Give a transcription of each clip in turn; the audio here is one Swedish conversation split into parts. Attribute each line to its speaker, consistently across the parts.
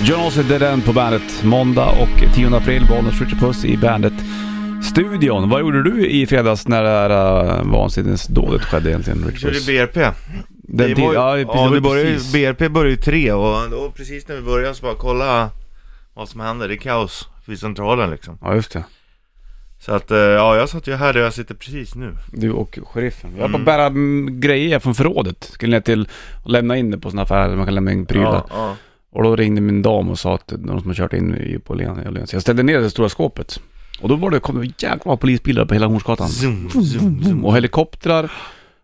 Speaker 1: John Ossie, Dead End på bandet. Måndag och 10 april, Bollnäs Richard Puss i bandet. Studion, vad gjorde du i fredags när det här äh, vansinnesdådet skedde egentligen?
Speaker 2: Vi
Speaker 1: Richard
Speaker 2: körde
Speaker 1: Puss?
Speaker 2: BRP.
Speaker 1: Den
Speaker 2: Det
Speaker 1: tid-
Speaker 2: var ju-
Speaker 1: ja, precis, det var
Speaker 2: vi började, ju-
Speaker 1: precis.
Speaker 2: BRP började ju tre och då precis när vi började så bara kolla vad som händer. Det är kaos vid centralen liksom.
Speaker 1: Ja, just det.
Speaker 2: Så att eh, ja, jag satt ju här där jag sitter precis nu.
Speaker 1: Du och sheriffen. Jag var på att bära mm, grejer från förrådet. Skulle ner till och lämna in det på sådana affärer där man kan lämna in prylar.
Speaker 2: Ja, ja.
Speaker 1: Och då ringde min dam och sa att det är någon som har kört in i- på Åhléns. Åhléns. Jag ställde ner det stora skåpet. Och då var det, kom det jäkla många polisbilar på hela Hornsgatan.
Speaker 2: Zoom, zoom, zoom.
Speaker 1: Och helikoptrar.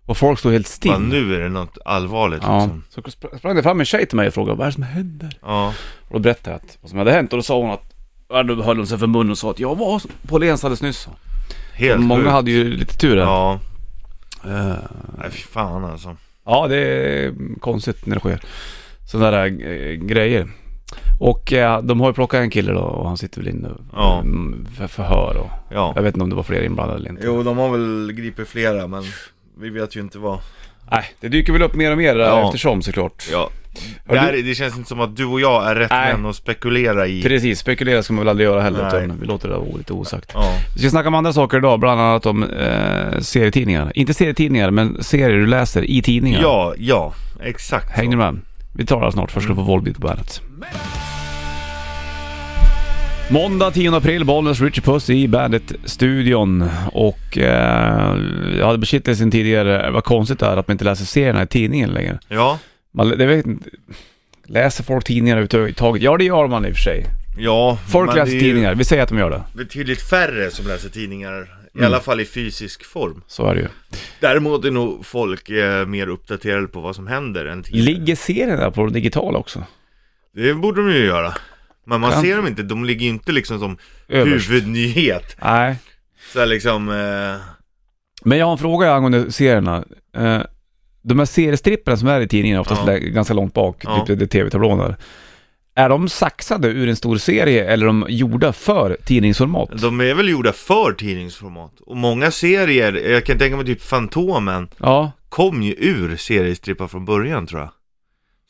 Speaker 1: Och folk stod helt still.
Speaker 2: Bara, nu är det något allvarligt
Speaker 1: Ja.
Speaker 2: liksom.
Speaker 1: Så spr- sprang det fram en tjej till mig och frågade vad är det som händer?
Speaker 2: Ja.
Speaker 1: Och då berättade jag att, vad som hade hänt. Och då sa hon att, ja, då höll hon sig för munnen och sa att jag var på Åhléns alldeles nyss.
Speaker 2: Helt
Speaker 1: Många
Speaker 2: sjukt.
Speaker 1: hade ju lite tur där. Ja.
Speaker 2: Ja. Nej fy fan alltså.
Speaker 1: ja, det är konstigt när det sker. Sådana där eh, grejer. Och eh, de har ju plockat en kille då och han sitter väl inne
Speaker 2: Ja.
Speaker 1: mm, för förhör och
Speaker 2: Ja.
Speaker 1: Jag vet inte om det var fler inblandade eller inte.
Speaker 2: Jo, de har väl gripit flera men vi vet ju inte vad.
Speaker 1: Nej, det dyker väl upp mer och mer
Speaker 2: Ja.
Speaker 1: eftersom såklart.
Speaker 2: Ja.
Speaker 1: Har
Speaker 2: Det, här,
Speaker 1: du-
Speaker 2: det känns inte som att du och jag är rätt
Speaker 1: Nej.
Speaker 2: män att spekulera i.
Speaker 1: Precis, spekulera ska man väl aldrig göra heller
Speaker 2: Nej.
Speaker 1: utan vi låter det vara lite osagt.
Speaker 2: Ja.
Speaker 1: Vi ska snacka om andra saker idag, bland annat om eh, serietidningar. Inte serietidningar, men serier du läser i tidningar.
Speaker 2: Ja, ja, exakt
Speaker 1: Hänger ni
Speaker 2: så.
Speaker 1: med? Vi tar det snart, först ska du få Volbeat på bandet. Måndag 10 april, Bollnäs Richie Puss i Bandet-studion. Och eh, jag hade på shitlisten tidigare, vad konstigt det är att man inte läser serierna i tidningen längre.
Speaker 2: Ja,
Speaker 1: Man, det vet inte. Läser folk tidningar överhuvudtaget? Ja det gör man i och för sig.
Speaker 2: ja
Speaker 1: Folk
Speaker 2: men
Speaker 1: läser
Speaker 2: det är ju
Speaker 1: tidningar, vi säger att de gör det.
Speaker 2: betydligt färre som läser tidningar
Speaker 1: Mm.
Speaker 2: I alla fall i fysisk form
Speaker 1: Så är det ju.
Speaker 2: Däremot är nog folk eh, mer uppdaterade på vad som händer än tidigare
Speaker 1: Ligger serien där på det digitala också?
Speaker 2: Det borde de ju göra Men man
Speaker 1: Kan-
Speaker 2: ser dem inte, de ligger ju inte liksom som
Speaker 1: Överst.
Speaker 2: huvudnyhet
Speaker 1: Nej.
Speaker 2: Så här liksom, eh,
Speaker 1: Men jag har en fråga angående serierna. Eh, De här seriestripperna som är i tidningarna, oftast
Speaker 2: Ja.
Speaker 1: lä- ganska långt bak,
Speaker 2: Ja.
Speaker 1: typ det tv-tablån där. Är de saxade ur en stor serie eller är de gjorda för tidningsformat?
Speaker 2: de är väl gjorda för tidningsformat Och många serier, jag kan tänka mig typ Fantomen
Speaker 1: Ja,
Speaker 2: kom ju ur seriestrippar från början tror jag.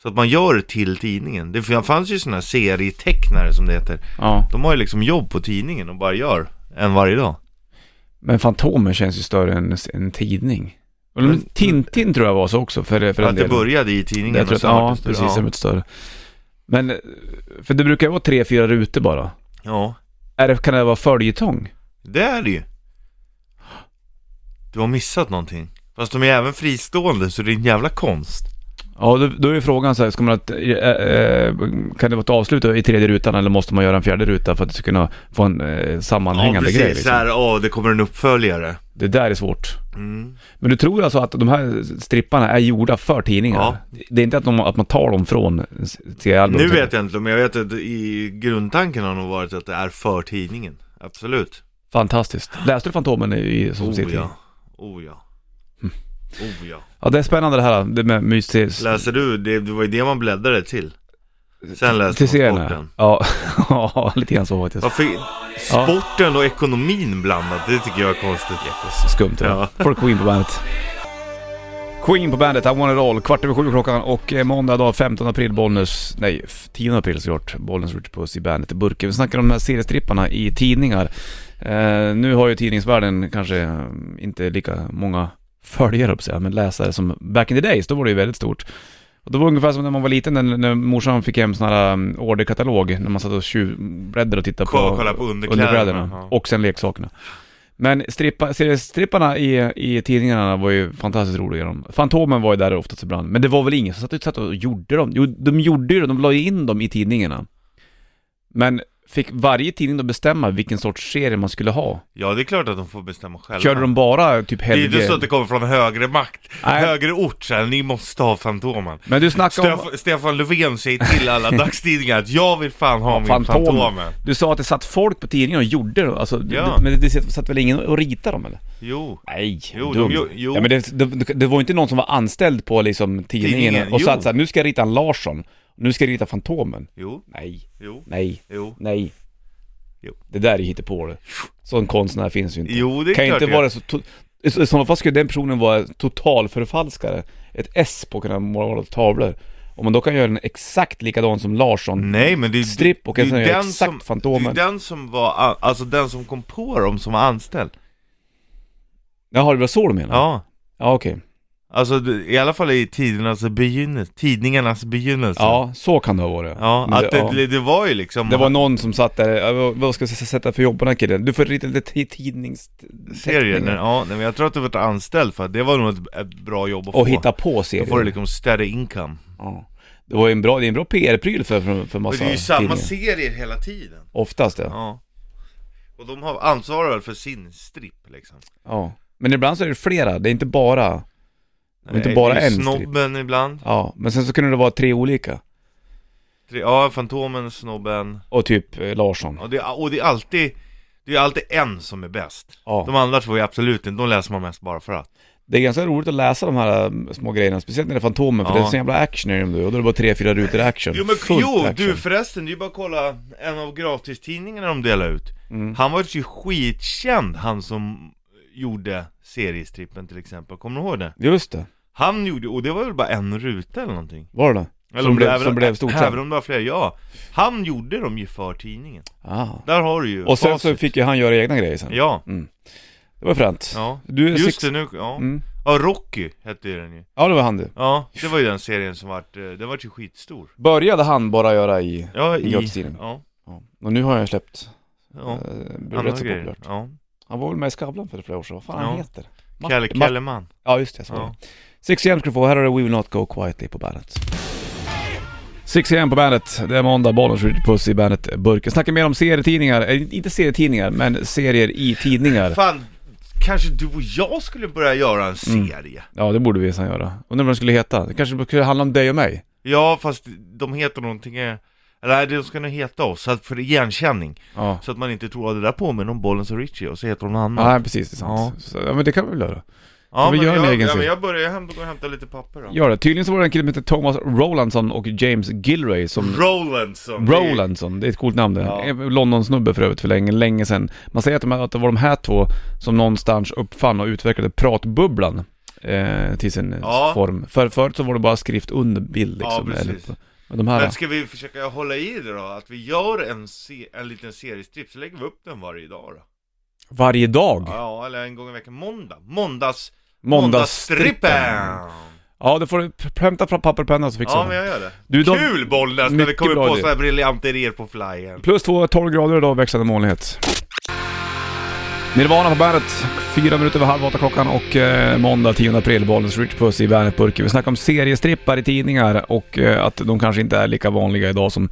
Speaker 2: Så att man gör det till tidningen. Det fanns ju sådana här serietecknare som det heter.
Speaker 1: ja.
Speaker 2: De har ju liksom jobb på tidningen och bara gör en varje dag.
Speaker 1: Men Fantomen känns ju större än en tidning. Och de-
Speaker 2: Men-
Speaker 1: Tintin tror jag var så också för, för
Speaker 2: För
Speaker 1: den
Speaker 2: att det
Speaker 1: delen.
Speaker 2: började i tidningen
Speaker 1: Jag tror
Speaker 2: och
Speaker 1: att,
Speaker 2: sen vart
Speaker 1: ja,
Speaker 2: det
Speaker 1: precis.
Speaker 2: större.
Speaker 1: Det är mycket större. Men, eh, för det brukar ju vara tre, fyra rutor bara.
Speaker 2: Ja. ja,
Speaker 1: Är det, kan det vara följetong?
Speaker 2: det är det ju. Du har missat någonting. Fast de är även fristående så det är en jävla konst.
Speaker 1: Ja, då, då är ju frågan så här, ska man att, eh, eh, kan det vara ett avslut i tredje rutan eller måste man göra en fjärde ruta för att det ska kunna få en eh,
Speaker 2: Ja,
Speaker 1: sammanhängande
Speaker 2: precis.
Speaker 1: grej?
Speaker 2: Så
Speaker 1: Liksom?
Speaker 2: här, åh, det kommer en uppföljare.
Speaker 1: Det där är svårt.
Speaker 2: Mm.
Speaker 1: Men du tror alltså att de här stripparna är gjorda för tidningar?
Speaker 2: Ja.
Speaker 1: Det är inte att, de, att man tar dem från
Speaker 2: Nu
Speaker 1: serialbumet?
Speaker 2: vet jag inte, men jag vet att i grundtanken har nog varit att det är för tidningen. Absolut.
Speaker 1: Fantastiskt. Läste du Fantomen i, Mm. som
Speaker 2: Oh
Speaker 1: serietidning?
Speaker 2: ja.
Speaker 1: Ja.
Speaker 2: Oh ja. Oh ja.
Speaker 1: ja, det är spännande det här det med mysteriet.
Speaker 2: Läser du? Det, det var ju det man bläddrade till. Sen läste
Speaker 1: Till
Speaker 2: man
Speaker 1: serierna?
Speaker 2: sporten.
Speaker 1: Ja, ja, lite grann så faktiskt.
Speaker 2: Varför sporten och ekonomin blandat? Det tycker jag är konstigt.
Speaker 1: Skumt det där. Får Queen på bandet. Queen på bandet, I want it all. Kvart över sju klockan och eh, måndag dag 15 april Bollnäs, nej f- 10 april såklart, Bollnäs Ritchie Puss i bandet i burken. Vi snackar om de här seriestripparna i tidningar. Eh, nu har ju tidningsvärlden kanske eh, inte lika många följare höll jag på att säga, men läsare som back in the days, då var det ju väldigt stort. Och det var ungefär som när man var liten, när, när morsan fick hem sån här um, orderkatalog, när man satt och tjuvbläddrade och tittade på,
Speaker 2: Kolla- kolla på underkläderna. Ja.
Speaker 1: och sen leksakerna. Men strippa, seriestripparna i, i tidningarna var ju fantastiskt roliga de. Fantomen var ju där oftast ibland, men det var väl ingen som satt och, satt och gjorde dem. Jo, de gjorde ju det, de la ju in dem i tidningarna. Men fick varje tidning då bestämma vilken sorts serie man skulle ha?
Speaker 2: Ja, det är klart att de får bestämma själva.
Speaker 1: Körde de bara typ
Speaker 2: det är
Speaker 1: helger?
Speaker 2: ju inte så att det kommer från högre makt,
Speaker 1: Nej.
Speaker 2: högre ort så här, ni måste ha Fantomen.
Speaker 1: Men du snackade om...
Speaker 2: Stef- Stefan Löfven säger till alla dagstidningar att jag vill fan ha min
Speaker 1: Fantomen.
Speaker 2: Fantomen.
Speaker 1: Du sa att det satt folk på tidningen och gjorde det, alltså,
Speaker 2: Ja.
Speaker 1: men det, det satt väl ingen och ritade dem eller?
Speaker 2: Jo,
Speaker 1: Nej,
Speaker 2: Jo,
Speaker 1: dum.
Speaker 2: de gjo- jo.
Speaker 1: Ja, men det, det, det var inte någon som var anställd på liksom, tidningen,
Speaker 2: Tidningen,
Speaker 1: och
Speaker 2: jo.
Speaker 1: satt såhär, nu ska jag rita en Larsson, nu ska jag rita Fantomen.
Speaker 2: jo,
Speaker 1: Nej,
Speaker 2: jo,
Speaker 1: nej,
Speaker 2: jo.
Speaker 1: nej.
Speaker 2: Jo.
Speaker 1: Det där är ju hittepå det. Sån konstnär finns ju inte.
Speaker 2: Jo, det är
Speaker 1: kan ju
Speaker 2: klart
Speaker 1: inte
Speaker 2: det.
Speaker 1: vara så... To- i så- I sådana fall skulle den personen vara totalförfalskare. Ett S på att kunna måla tavlor. Om man då kan göra en exakt likadan som Larsson
Speaker 2: Nej men det,
Speaker 1: Stripp och
Speaker 2: det,
Speaker 1: en sån
Speaker 2: är
Speaker 1: här
Speaker 2: den
Speaker 1: exakt
Speaker 2: som,
Speaker 1: Fantomen.
Speaker 2: Det är den som var, an- alltså den som kom på dem som var anställd.
Speaker 1: Jaha, det var så du menar?
Speaker 2: Ja.
Speaker 1: Ja, okej.
Speaker 2: Alltså det- i alla fall i tidernas begynnelse, tidningarnas begynnelse.
Speaker 1: Ja, så kan det ha varit.
Speaker 2: Ja,
Speaker 1: Men
Speaker 2: att det, det, det var ju liksom...
Speaker 1: Det var någon som satt där, ja, vad- vad ska jag sätta för jobb på den här killen? Du får rita lite ti-
Speaker 2: Serien,
Speaker 1: tidningsteckningar.
Speaker 2: ja, nej, men jag tror att du varit anställd för att det var nog ett, ett bra jobb att få.
Speaker 1: Och hitta på
Speaker 2: Då får du
Speaker 1: serier.
Speaker 2: liksom steady income.
Speaker 1: Ja. Det var ju en bra, det är en bra PR-pryl för, för, för
Speaker 2: Och
Speaker 1: massa
Speaker 2: det är ju samma
Speaker 1: tidningar.
Speaker 2: serier hela tiden.
Speaker 1: Oftast ja.
Speaker 2: Ja. Och de har ansvarar väl för sin stripp liksom.
Speaker 1: ja. Men ibland så är det flera, det är inte bara, det är inte
Speaker 2: Nej,
Speaker 1: bara
Speaker 2: det är
Speaker 1: en
Speaker 2: ju
Speaker 1: stripp.
Speaker 2: Snobben ibland.
Speaker 1: Ja, men sen så kunde det vara tre olika.
Speaker 2: Tre- Ja, Fantomen, Snobben.
Speaker 1: Och typ eh, Larsson.
Speaker 2: Ja, det, är- och det är alltid, det är alltid en som är bäst.
Speaker 1: Ja.
Speaker 2: De andra två är absolut inte, de läser man mest bara för att.
Speaker 1: Det är ganska roligt att läsa de här eh, små grejerna, speciellt när det är Fantomen, för
Speaker 2: Ja.
Speaker 1: det är så jävla action i dem du. Och då är det bara tre, fyra rutor action.
Speaker 2: Jo men
Speaker 1: Fullt
Speaker 2: jo,
Speaker 1: action.
Speaker 2: du förresten, det är ju bara att kolla en av gratistidningarna de delar ut.
Speaker 1: Mm.
Speaker 2: Han var ju skitkänd, han som gjorde seriestrippen till exempel, kommer du ihåg det?
Speaker 1: Just det,
Speaker 2: Han gjorde, och det var väl bara en ruta eller någonting?
Speaker 1: var det det? Som,
Speaker 2: om det-
Speaker 1: blev,
Speaker 2: även-
Speaker 1: som blev stort
Speaker 2: Även
Speaker 1: sen.
Speaker 2: om det var fler, ja. Han gjorde dem ju för tidningen.
Speaker 1: Ah.
Speaker 2: Där har du ju
Speaker 1: Och sen så
Speaker 2: facit.
Speaker 1: fick ju han göra egna grejer sen.
Speaker 2: Ja,
Speaker 1: Det var fränt.
Speaker 2: ja.
Speaker 1: Du är
Speaker 2: Just
Speaker 1: sex-
Speaker 2: det, nu, ja.
Speaker 1: Mm.
Speaker 2: Ja, Rocky hette ju den ju.
Speaker 1: Ja, det var han du.
Speaker 2: Ja, det var ju den serien som vart, eh, den vart ju skitstor.
Speaker 1: Började han bara göra i...
Speaker 2: Ja, i...
Speaker 1: Gratistidningen.
Speaker 2: Ja,
Speaker 1: Ja. Och nu har jag släppt...
Speaker 2: ja.
Speaker 1: eh, blev
Speaker 2: Andra
Speaker 1: rätt så
Speaker 2: grejer.
Speaker 1: populärt.
Speaker 2: Ja.
Speaker 1: Han var väl med i Skavlan för flera år sedan. Vad fan
Speaker 2: Ja.
Speaker 1: han heter? Mart-
Speaker 2: Kalle
Speaker 1: Mart-
Speaker 2: Kellerman.
Speaker 1: Ja, just det. Så var
Speaker 2: Ja.
Speaker 1: det. 6 AM ska du få. Här har du We Will Not Go Quietly på bandet. 6 AM på bandet. Det är måndag. Bollnäs skjuter puss i bandet Burken. Snackar mer om serietidningar. Eh, inte serietidningar, men serier i tidningar.
Speaker 2: Fan, kanske du och jag skulle börja göra en
Speaker 1: Mm.
Speaker 2: serie?
Speaker 1: Ja, det borde vi sen göra. Undrar vad den skulle heta. Det kanske skulle handla om dig och mig.
Speaker 2: Ja, fast de heter någonting... eh, Eller nej, de ska nog heta oss, så att för igenkänning.
Speaker 1: Ja.
Speaker 2: Så att man inte tror att det där påminner om Bollens och Richie och så heter de något annat.
Speaker 1: Nej, precis. Det är sant. Ja. Så, ja, men det kan vi väl göra.
Speaker 2: ja,
Speaker 1: vi
Speaker 2: men
Speaker 1: gör en
Speaker 2: jag,
Speaker 1: egen
Speaker 2: ja, men
Speaker 1: serie.
Speaker 2: jag börjar hem och går och hämtar lite papper då.
Speaker 1: Gör det. Tydligen så var det en kille som hette Thomas Rolandson och James Gilray som...
Speaker 2: Rolandson. det är-
Speaker 1: Rolandson, det är ett coolt namn det.
Speaker 2: Mm. Ja.
Speaker 1: Ja. London-snubbe för övrigt för länge, länge sedan. Man säger att, de, här- att det var de här två som någonstans uppfann och utvecklade pratbubblan eh, till sin eh,
Speaker 2: Ja.
Speaker 1: form. För, förut så var det bara skrift under bild liksom.
Speaker 2: Ja, precis.
Speaker 1: eller- men de här...
Speaker 2: Men ska vi försöka hålla i det då? Att vi gör en, se- en liten seriestripp, så lägger vi upp den varje dag då.
Speaker 1: Varje dag.
Speaker 2: Ja, eller en gång i veckan. Måndag. Måndags...
Speaker 1: Måndagsstrippen.
Speaker 2: Måndagsstrippen.
Speaker 1: Ja, då får du p- hämta fram papper och penna så fixar
Speaker 2: Ja,
Speaker 1: vi
Speaker 2: men
Speaker 1: det.
Speaker 2: jag gör det.
Speaker 1: Du, de-
Speaker 2: Kul Bollnäs när vi
Speaker 1: Mycket
Speaker 2: kommer
Speaker 1: bra
Speaker 2: på
Speaker 1: idé.
Speaker 2: sådana här briljanta idéer på flyen.
Speaker 1: Plus 2, 12 grader idag, växlande molnighet. Nirvana på bandet, fyra minuter över halv åtta klockan och eh, måndag 10 april, Bollens Rich Puss i Bandet-burken. Vi snackar om seriestrippar i tidningar och eh, att de kanske inte är lika vanliga idag som,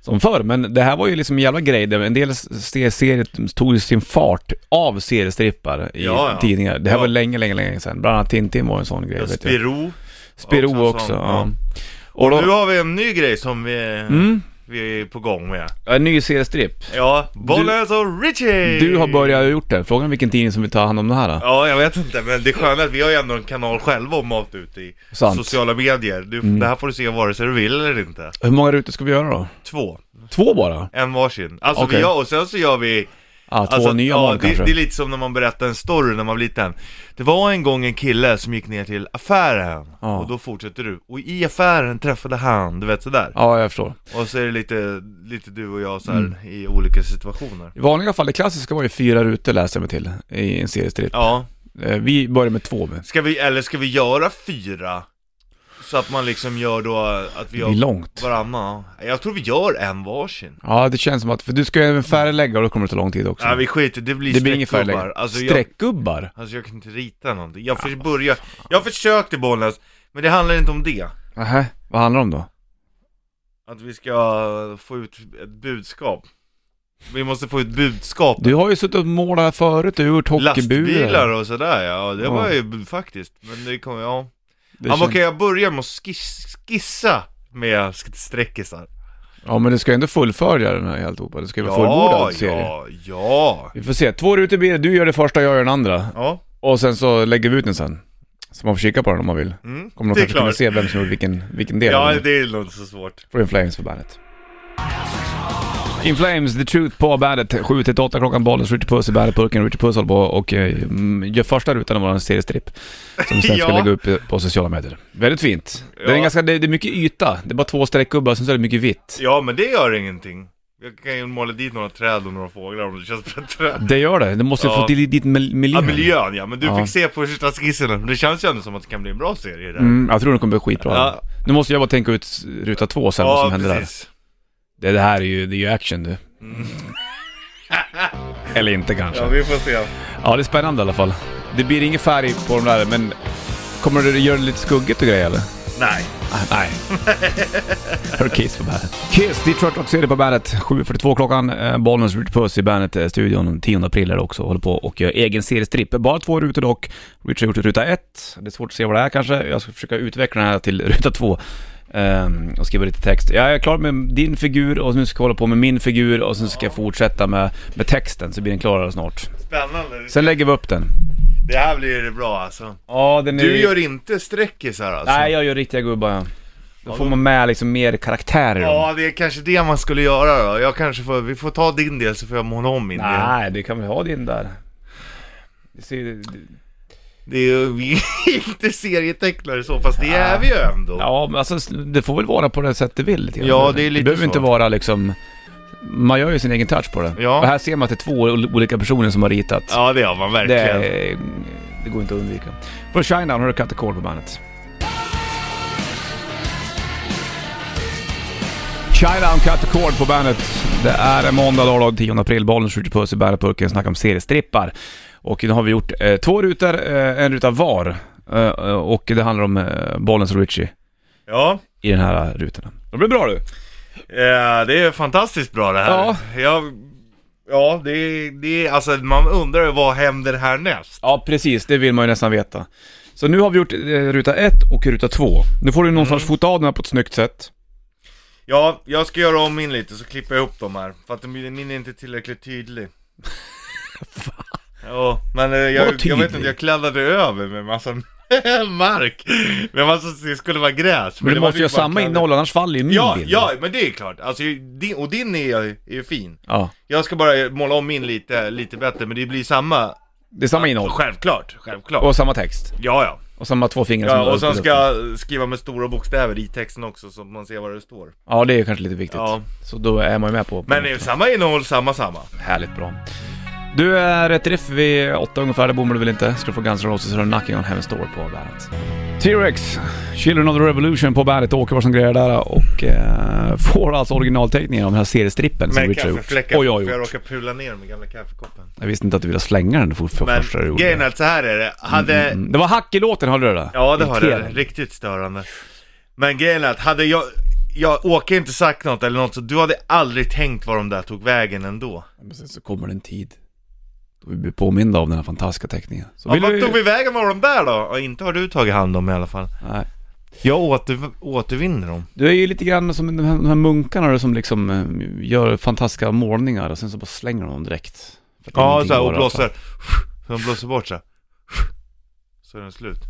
Speaker 1: som förr. Men det här var ju liksom en jävla grej. där En del se- serier tog ju sin fart av seriestrippar i
Speaker 2: Ja, ja.
Speaker 1: tidningar. Det här
Speaker 2: Ja.
Speaker 1: var länge, länge, länge sedan. Bland annat Tintin var en sån grej. vet jag.
Speaker 2: Spiro.
Speaker 1: Spiro också.
Speaker 2: också en sån,
Speaker 1: ja.
Speaker 2: ja.
Speaker 1: Och
Speaker 2: Nu
Speaker 1: då,
Speaker 2: har vi en ny grej som vi,
Speaker 1: mm,
Speaker 2: vi är på gång med.
Speaker 1: en ny seriestripp.
Speaker 2: Ja, Bollnäs och Richie!
Speaker 1: Du har börjat gjort det. Frågan är vilken tidning som vill ta hand om det här. Då?
Speaker 2: Ja, jag vet inte, men det är skönt att vi har ju ändå en kanal själva och mat ut i
Speaker 1: Sant. Mm.
Speaker 2: sociala medier. Du, Det här får du se vare sig du vill eller inte.
Speaker 1: Hur många rutor ska vi göra då?
Speaker 2: Två.
Speaker 1: Två bara?
Speaker 2: En varsin. Alltså
Speaker 1: Okej.
Speaker 2: vi gör, och sen så gör vi...
Speaker 1: Ah, två
Speaker 2: alltså,
Speaker 1: nya
Speaker 2: ja,
Speaker 1: barn kanske?
Speaker 2: det, det är lite som när man berättar en story när man var liten. Det var en gång en kille som gick ner till affären,
Speaker 1: Ja.
Speaker 2: och då fortsätter du. Och i affären träffade han, du vet sådär.
Speaker 1: Ja, jag förstår.
Speaker 2: Och så är det lite, lite du och jag så här
Speaker 1: Mm.
Speaker 2: i olika situationer.
Speaker 1: I vanliga fall, det klassiska var ju fyra rutor läser jag mig till i en seriestripp.
Speaker 2: Ja,
Speaker 1: Eh, Vi börjar med två. men
Speaker 2: ska vi, eller ska vi göra fyra? Så att man liksom gör då att vi
Speaker 1: Det är
Speaker 2: gör
Speaker 1: långt.
Speaker 2: varannan. Jag tror vi gör en varsin.
Speaker 1: Ja, det känns som att, för du ska ju även färglägga och då kommer det ta lång tid också.
Speaker 2: Nej vi skiter det blir
Speaker 1: det blir ingen
Speaker 2: streckgubbar.
Speaker 1: färgläggning.
Speaker 2: Alltså jag,
Speaker 1: Streckgubbar?
Speaker 2: alltså jag kan inte rita någonting. Jag, för, börja, jag försökte Bollnäs, men det handlar inte om det.
Speaker 1: Nähä, vad handlar det om då?
Speaker 2: Att vi ska få ut ett budskap. Vi måste få ut budskap.
Speaker 1: Du har ju suttit och målat förut, du har gjort
Speaker 2: Lastbilar
Speaker 1: hockeyburar.
Speaker 2: och sådär ja, Ja, det
Speaker 1: Ja.
Speaker 2: var ju b- faktiskt, men det kommer, ja.
Speaker 1: Det
Speaker 2: ja men
Speaker 1: känns-
Speaker 2: okej, jag börjar med att skiss, skissa med sk- sträckisar.
Speaker 1: Ja, men du ska ju ändå fullfölja den här alltihopa. Du ska ju vara fullbordad serie.
Speaker 2: ja, ja.
Speaker 1: Vi får se. Två rutor blir det. Du gör det första, jag gör den andra.
Speaker 2: Ja,
Speaker 1: Och sen så lägger vi ut den sen. Så man får kika på den om man vill.
Speaker 2: mm.
Speaker 1: Kommer de
Speaker 2: det är
Speaker 1: kanske kunna
Speaker 2: klart.
Speaker 1: se vem som gjorde vilken, vilken del.
Speaker 2: Ja,
Speaker 1: Ja, det...
Speaker 2: det är nog inte så svårt.
Speaker 1: Får en flames på bandet. In Flames, The Truth på bandet. 7 till 8 klockan, Bollnäs, Richard Puss i bandetburken. Richard Puss håller på och eh, mm, gör första rutan av våran seriestripp. Som vi sen ska
Speaker 2: Ja.
Speaker 1: lägga upp eh, på sociala medier. Väldigt fint. Det, är
Speaker 2: Ja.
Speaker 1: en ganska, det, det är mycket yta. Det är bara två streckgubbar, sen så är det mycket vitt.
Speaker 2: Ja men det gör ingenting. Jag kan ju måla dit några träd och några fåglar om det känns bättre.
Speaker 1: Det gör det. Det måste ju
Speaker 2: Ja.
Speaker 1: få till dit mil-
Speaker 2: Ja
Speaker 1: miljön.
Speaker 2: miljön ja, men du
Speaker 1: Ja.
Speaker 2: fick se första skisserna. Men Det känns ju ändå som att det kan bli en bra serie där.
Speaker 1: Mm, jag tror det kommer bli skitbra.
Speaker 2: Ja.
Speaker 1: Nu måste jag bara tänka ut ruta två sen, vad som händer där. Det, det här är ju, det är ju action du. Eller inte kanske.
Speaker 2: Ja vi får se.
Speaker 1: Ja, det är spännande i alla fall. Det blir ingen färg på de där, men kommer du göra det lite skuggigt och grejer eller?
Speaker 2: Nej.
Speaker 1: Ah, Nej. Hör Kiss på bandet. Kiss, Detroit Rock City på bandet. 7.42 klockan. Eh, Bollnäs Richard Puss i bandet-studion den 10 april är det också. Håller på och gör egen seriestripp. Bara två rutor dock. Richard har gjort ruta ett. Det är svårt att se vad det är kanske. Jag ska försöka utveckla den här till ruta två. ehm, och skriva lite text. Jag är klar med din figur och nu ska jag hålla på med min figur och sen ska jag fortsätta med, med texten så blir den klarare snart.
Speaker 2: Spännande.
Speaker 1: Sen lägger vi upp den.
Speaker 2: Det här blir bra alltså.
Speaker 1: Ja, den är...
Speaker 2: Du gör inte streckisar alltså?
Speaker 1: Nej, jag gör riktiga gubbar ja. Då får man med liksom mer karaktärer i dem.
Speaker 2: Ja, det är kanske det man skulle göra då. Jag kanske får, vi får ta din del så får jag måla om min del.
Speaker 1: Nej, du kan väl ha din där. Det ser, ju-
Speaker 2: Det är ju, vi är inte serietecknare så, fast det är vi ju ändå.
Speaker 1: ja, men alltså det får väl vara på det sätt du vill lite grann.
Speaker 2: Ja, det är lite
Speaker 1: Det behöver
Speaker 2: så.
Speaker 1: inte vara liksom... Man gör ju sin egen touch på det.
Speaker 2: Ja.
Speaker 1: Och här ser man att det är två ol- olika personer som har ritat.
Speaker 2: Ja, det har man
Speaker 1: det,
Speaker 2: verkligen.
Speaker 1: är, det går inte att undvika. Från Shinedown har du Cut the Cord på bandet. Shinedown Cut the Cord på bandet. Det är måndag då, då 10 april. Bollen skjuter puss i bärpurken snackar om seriestrippar. Och nu har vi gjort eh, två rutor, eh, en ruta var. Eh, eh, och det handlar om eh, Bollens och Richie
Speaker 2: Ja,
Speaker 1: i den här rutan. Det blir bra du!
Speaker 2: eh, det är fantastiskt bra det här.
Speaker 1: Ja.
Speaker 2: Jag, ja, det är, det är, alltså man undrar ju vad händer härnäst?
Speaker 1: Ja precis, det vill man ju nästan veta. Så nu har vi gjort eh, ruta 1 och ruta 2. Nu får du någonstans fota av den här på ett snyggt sätt.
Speaker 2: Ja, jag ska göra om min lite så klipper jag ihop dem här. För att min min är inte tillräckligt tydlig. Ja, men eh,
Speaker 1: Vadå
Speaker 2: jag, jag vet
Speaker 1: tydlig?
Speaker 2: inte, jag kladdade över med massa mark. Men massa, det skulle vara gräs.
Speaker 1: Men du
Speaker 2: det var
Speaker 1: måste
Speaker 2: ju
Speaker 1: ju ha
Speaker 2: bara
Speaker 1: samma
Speaker 2: kladd-
Speaker 1: innehåll, annars faller ju min
Speaker 2: Ja,
Speaker 1: bild.
Speaker 2: ja, men det är klart. Alltså, din, och din är, är ju fin.
Speaker 1: ja.
Speaker 2: Jag ska bara måla om min lite, lite bättre, men det blir samma.
Speaker 1: Det är samma innehåll.
Speaker 2: Självklart, självklart.
Speaker 1: Och samma text.
Speaker 2: ja, ja.
Speaker 1: Och samma två fingrar som
Speaker 2: ja
Speaker 1: rör
Speaker 2: och sen
Speaker 1: på
Speaker 2: ska
Speaker 1: luften.
Speaker 2: jag skriva med stora bokstäver i texten också, så att man ser vad det står.
Speaker 1: Ja, det är ju kanske lite viktigt.
Speaker 2: Ja.
Speaker 1: Så då är man ju med på... på
Speaker 2: Men det
Speaker 1: det.
Speaker 2: är samma innehåll, samma, samma.
Speaker 1: Härligt bra. Du, är rätt riff vid åtta ungefär, det bommar du väl inte? Ska du få Guns N' Roses och Knocking on Heaven's Door på bandet. T-Rex, Children of the Revolution på bandet, åker vad som grejer där och eh, får alltså originalteckningen av den här seriestrippen som
Speaker 2: Med
Speaker 1: Richard har gjort.
Speaker 2: kaffefläckar,
Speaker 1: Och jag har
Speaker 2: för jag
Speaker 1: gjort.
Speaker 2: råkar pula ner med gamla kaffekoppen.
Speaker 1: Jag visste inte att du ville slänga den för, för
Speaker 2: Men
Speaker 1: första du gjorde.
Speaker 2: grejen är
Speaker 1: det.
Speaker 2: att så här är det. Hade,
Speaker 1: Mm, Det var hack i låten, hörde du det?
Speaker 2: Ja det har det,
Speaker 1: Irriterande.
Speaker 2: riktigt störande. Men grejen är att hade jag, jag åker inte sagt något eller något så du hade aldrig tänkt var de där tog vägen ändå.
Speaker 1: Men sen så kommer det en tid då vi blir påminda av den här fantastiska teckningen. Så
Speaker 2: Ja,
Speaker 1: vill
Speaker 2: vart
Speaker 1: vi...
Speaker 2: tog vi vägen var de där då? Ja, inte har du tagit hand om i alla fall.
Speaker 1: Nej.
Speaker 2: Jag åter, återvinner dem.
Speaker 1: Du är ju lite grann som de här, de här munkarna som liksom eh, gör fantastiska målningar och sen så bara slänger de dem direkt. För att
Speaker 2: Ja
Speaker 1: ingenting
Speaker 2: så här, och
Speaker 1: varar.
Speaker 2: blåser. alltså. Så de blåser bort så här. Så är den slut.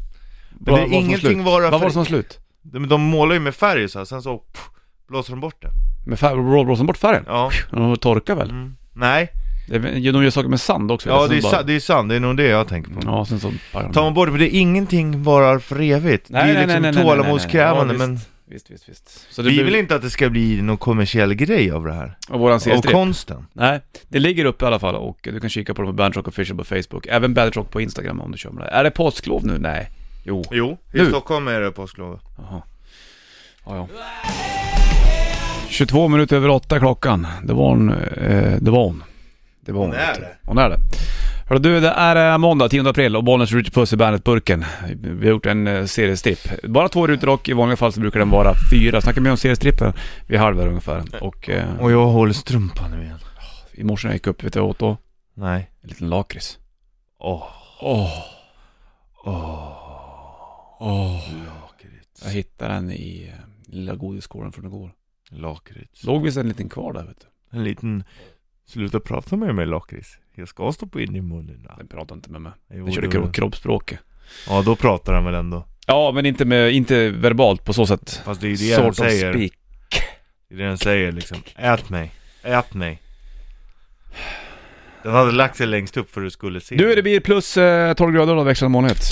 Speaker 1: Vad-
Speaker 2: det är
Speaker 1: vad som
Speaker 2: ingenting
Speaker 1: slut?
Speaker 2: varar
Speaker 1: Vad
Speaker 2: för-
Speaker 1: var det som var slut?
Speaker 2: De, de målar ju med färg så här, sen så pff, blåser de bort det.
Speaker 1: Med färg, blå- blåser de bort färgen?
Speaker 2: Ja.
Speaker 1: De torkar väl?
Speaker 2: Mm. Nej.
Speaker 1: Det är- De gör saker med sand också.
Speaker 2: Ja
Speaker 1: eller?
Speaker 2: det är,
Speaker 1: Sen Typ bara-
Speaker 2: sa- det är sant, det är nog det jag tänker på.
Speaker 1: Ja, sen så... bara-
Speaker 2: Tar man bort det, men det är ingenting varar för evigt.
Speaker 1: Nej,
Speaker 2: det
Speaker 1: nej, nej,
Speaker 2: är
Speaker 1: nej, nej, nej,
Speaker 2: liksom
Speaker 1: nej.
Speaker 2: tålamodskrävande
Speaker 1: Ja,
Speaker 2: men
Speaker 1: Visst, visst, visst. Så det
Speaker 2: Vi
Speaker 1: blir-
Speaker 2: vill inte att det ska bli någon kommersiell grej av det här.
Speaker 1: Och våran
Speaker 2: Av
Speaker 1: seriestripp.
Speaker 2: konsten.
Speaker 1: Nej, det ligger uppe i alla fall och du kan kika på dem på Bandrock Official på Facebook. Även Bandrock på Instagram om du kör med det. Är det påsklov nu? Nej. Jo.
Speaker 2: Jo, i
Speaker 1: Nu.
Speaker 2: Stockholm är det påsklov.
Speaker 1: Jaha. Ja, ja. 22 minuter över åtta klockan. Det var hon. Eh, det var hon. Det var hon.
Speaker 2: Hon är
Speaker 1: vet du.
Speaker 2: det.
Speaker 1: Hon är det. Hörru du, det är eh, måndag 10 april och Bollnäs Richard Puss i Bandet-burken. Vi har gjort en eh, seriestripp. Bara två rutor och i vanliga fall så brukar den vara fyra. Snacka mer om seriestrippen vid halv här ungefär. Och eh,
Speaker 2: Och jag håller strumpan nu igen.
Speaker 1: i morse när jag gick upp, vet du vad jag åt då?
Speaker 2: Nej.
Speaker 1: En liten lakrits.
Speaker 2: Åh.
Speaker 1: Åh,
Speaker 2: Åh.
Speaker 1: åh.
Speaker 2: Lakrits.
Speaker 1: Jag hittade den i eh, lilla godisskålen från igår.
Speaker 2: Lakrits.
Speaker 1: Låg visst en liten kvar där vet du.
Speaker 2: En liten... Sluta prata med mig lakrits. Jag ska stoppa in i munnen.
Speaker 1: Den pratade inte med mig.
Speaker 2: Jo,
Speaker 1: Den körde
Speaker 2: då-
Speaker 1: kro- kroppsspråket.
Speaker 2: Ja, då pratar han väl ändå.
Speaker 1: Ja, men inte, med, inte verbalt på så sätt.
Speaker 2: Fast det är ju det
Speaker 1: Sort
Speaker 2: han
Speaker 1: of
Speaker 2: säger.
Speaker 1: speak.
Speaker 2: Det är det han säger liksom. Ät mig. Ät mig. Den hade lagt sig längst upp för du skulle se.
Speaker 1: Du, det blir plus eh, 12 grader då, växlande molnighet.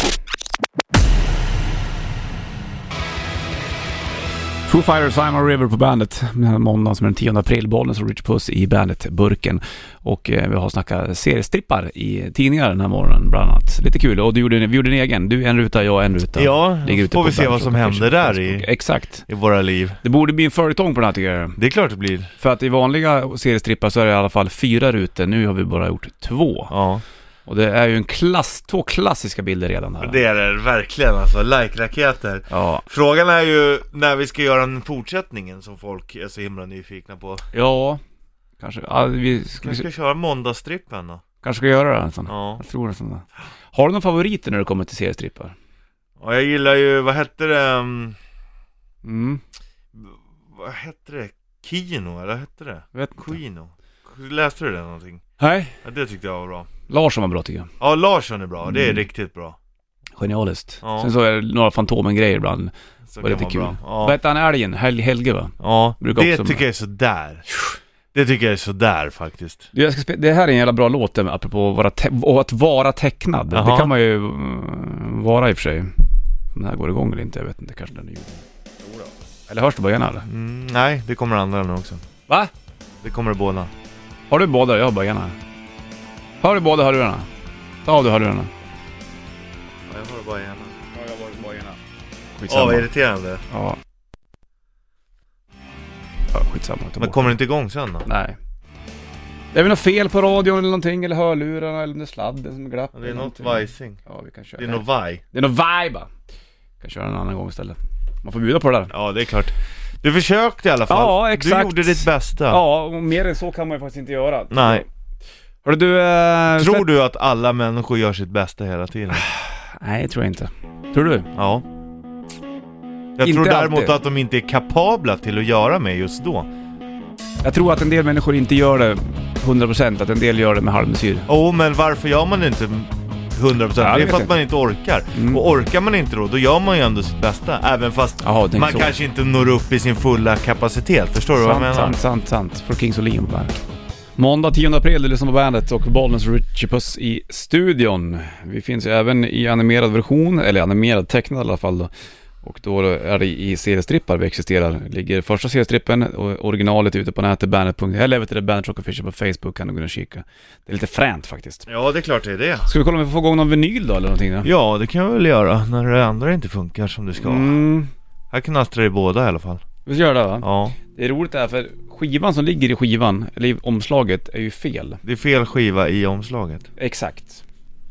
Speaker 1: Foo Fighters, I'm a River på bandet. Den här måndagen som är den 10 april, bollen som Rich Puss i bandet-burken. Och eh, vi har snackat seriestrippar i tidningar den här morgonen bland annat. Lite kul, och du gjorde, vi gjorde en egen. Du en ruta, jag en ruta.
Speaker 2: Ja,
Speaker 1: Ligger ute
Speaker 2: får
Speaker 1: på
Speaker 2: vi se
Speaker 1: Bandit
Speaker 2: vad som
Speaker 1: Rotation
Speaker 2: händer där
Speaker 1: Facebook.
Speaker 2: i,
Speaker 1: Exakt.
Speaker 2: i våra liv.
Speaker 1: Det borde bli en följetong på den här tycker jag.
Speaker 2: Det är klart det blir.
Speaker 1: För att i vanliga seriestrippar så är det i alla fall fyra rutor, nu har vi bara gjort två.
Speaker 2: Ja.
Speaker 1: Och det är ju en klass, två klassiska bilder redan här.
Speaker 2: Det är det verkligen alltså. Like-raketer.
Speaker 1: Ja.
Speaker 2: Frågan är ju när vi ska göra den fortsättningen som folk är så himla nyfikna på.
Speaker 1: Ja, kanske. Ja, vi ska,
Speaker 2: Vi ska
Speaker 1: kanske.
Speaker 2: köra måndagsstrippen då.
Speaker 1: kanske ska göra det en sån.
Speaker 2: Ja.
Speaker 1: Jag tror det. är Sån. Har du några favoriter när det kommer till seriestrippar?
Speaker 2: Och jag gillar ju, vad hette det? mm,
Speaker 1: Mm,
Speaker 2: Vad hette det? Kino, eller vad hette det?
Speaker 1: vet inte.
Speaker 2: Quino. Läste du det någonting?
Speaker 1: Nej,
Speaker 2: Ja, det tyckte jag var bra.
Speaker 1: Larsson var bra tycker jag.
Speaker 2: Ja, Larsson är bra. Det är
Speaker 1: Mm.
Speaker 2: riktigt bra.
Speaker 1: Genialiskt.
Speaker 2: Ja.
Speaker 1: Sen så är det några Fantomen-grejer ibland.
Speaker 2: Så
Speaker 1: Var
Speaker 2: kan
Speaker 1: lite
Speaker 2: vara
Speaker 1: kul.
Speaker 2: bra.
Speaker 1: Vad
Speaker 2: Ja,
Speaker 1: hette han, Älgen? Hel Helge va?
Speaker 2: ja.
Speaker 1: Brukar
Speaker 2: det
Speaker 1: också-
Speaker 2: tycker jag är sådär. Det tycker jag är sådär faktiskt.
Speaker 1: Du, jag ska spe- det här är en jävla bra låt, eh, apropå att vara, te- och att vara tecknad. Det
Speaker 2: Jaha.
Speaker 1: kan man ju mm, vara i och för sig. Om den här går igång eller inte, jag vet inte. Kanske den är gjord. Eller hörs det början eller?
Speaker 2: Mm, nej, det kommer andra nu också.
Speaker 1: Va?
Speaker 2: Det kommer det båda.
Speaker 1: Har du båda? Jag har böjarna. Har du båda hörlurarna? Ta av dig hörlurarna.
Speaker 2: Ja, jag har det bara ena.
Speaker 1: Ja, jag har böjarna.
Speaker 2: Åh,
Speaker 1: Skitsamma.
Speaker 2: vad irriterande.
Speaker 1: ja. ja, skitsamma. Ta
Speaker 2: Men
Speaker 1: bort.
Speaker 2: kommer det inte igång sen då?
Speaker 1: Nej. Det är väl något fel på radion eller någonting, eller hörlurarna, eller om det är sladden som är glapp.
Speaker 2: Ja, Det är
Speaker 1: eller
Speaker 2: något
Speaker 1: någonting.
Speaker 2: vajsing.
Speaker 1: Ja, vi kan köra.
Speaker 2: Det är något vaj.
Speaker 1: det är något vibe. va? kan köra en annan gång istället. Man får bjuda på det där.
Speaker 2: Ja, det är klart. Du försökte i alla fall.
Speaker 1: Ja, exakt.
Speaker 2: Du gjorde ditt bästa.
Speaker 1: Ja, och mer än så kan man ju faktiskt inte göra.
Speaker 2: Nej.
Speaker 1: Hörru du... Eh,
Speaker 2: Tror
Speaker 1: släpp-
Speaker 2: du att alla människor gör sitt bästa hela tiden?
Speaker 1: Nej, det tror jag inte. Tror du?
Speaker 2: Ja. Jag
Speaker 1: Inte
Speaker 2: tror däremot
Speaker 1: alltid.
Speaker 2: att de inte är kapabla till att göra med just då.
Speaker 1: Jag tror att en del människor inte gör det 100%, att en del gör det med halvmesyr.
Speaker 2: Jo, men varför gör man inte 100%?
Speaker 1: Ja, det
Speaker 2: det är
Speaker 1: vet
Speaker 2: för
Speaker 1: jag Mm.
Speaker 2: att man inte orkar. Och orkar man inte då, då gör man ju ändå sitt bästa. Även fast
Speaker 1: Jaha, du tänker
Speaker 2: man
Speaker 1: så.
Speaker 2: kanske inte når upp i sin fulla kapacitet. Förstår du vad jag
Speaker 1: Sant,
Speaker 2: menar?
Speaker 1: sant, sant, sant. För Kings och Leon på bandet. Måndag 10 april, du lyssnar på bandet och Bollnäs och Richie Puss i studion. Vi finns ju även i animerad version, eller animerad tecknad i alla fall då. Och då är det i seriestrippar vi existerar. Ligger första seriestrippen, och originalet är ute på nätet, bandet.se, eller vet du det, Bandet Rock Official på Facebook kan du gå in och kika. Det är lite fränt faktiskt.
Speaker 2: Ja, det är klart det är det.
Speaker 1: Ska vi kolla om vi får igång någon vinyl då eller någonting? Då?
Speaker 2: Ja, det kan jag väl göra när det andra inte funkar som det ska.
Speaker 1: Mm,
Speaker 2: Här knastrar det båda i alla fall.
Speaker 1: vi ska göra det va?
Speaker 2: Ja,
Speaker 1: Det är roligt det här för skivan som ligger i skivan, eller i omslaget, är ju fel.
Speaker 2: det är fel skiva i omslaget.
Speaker 1: Exakt.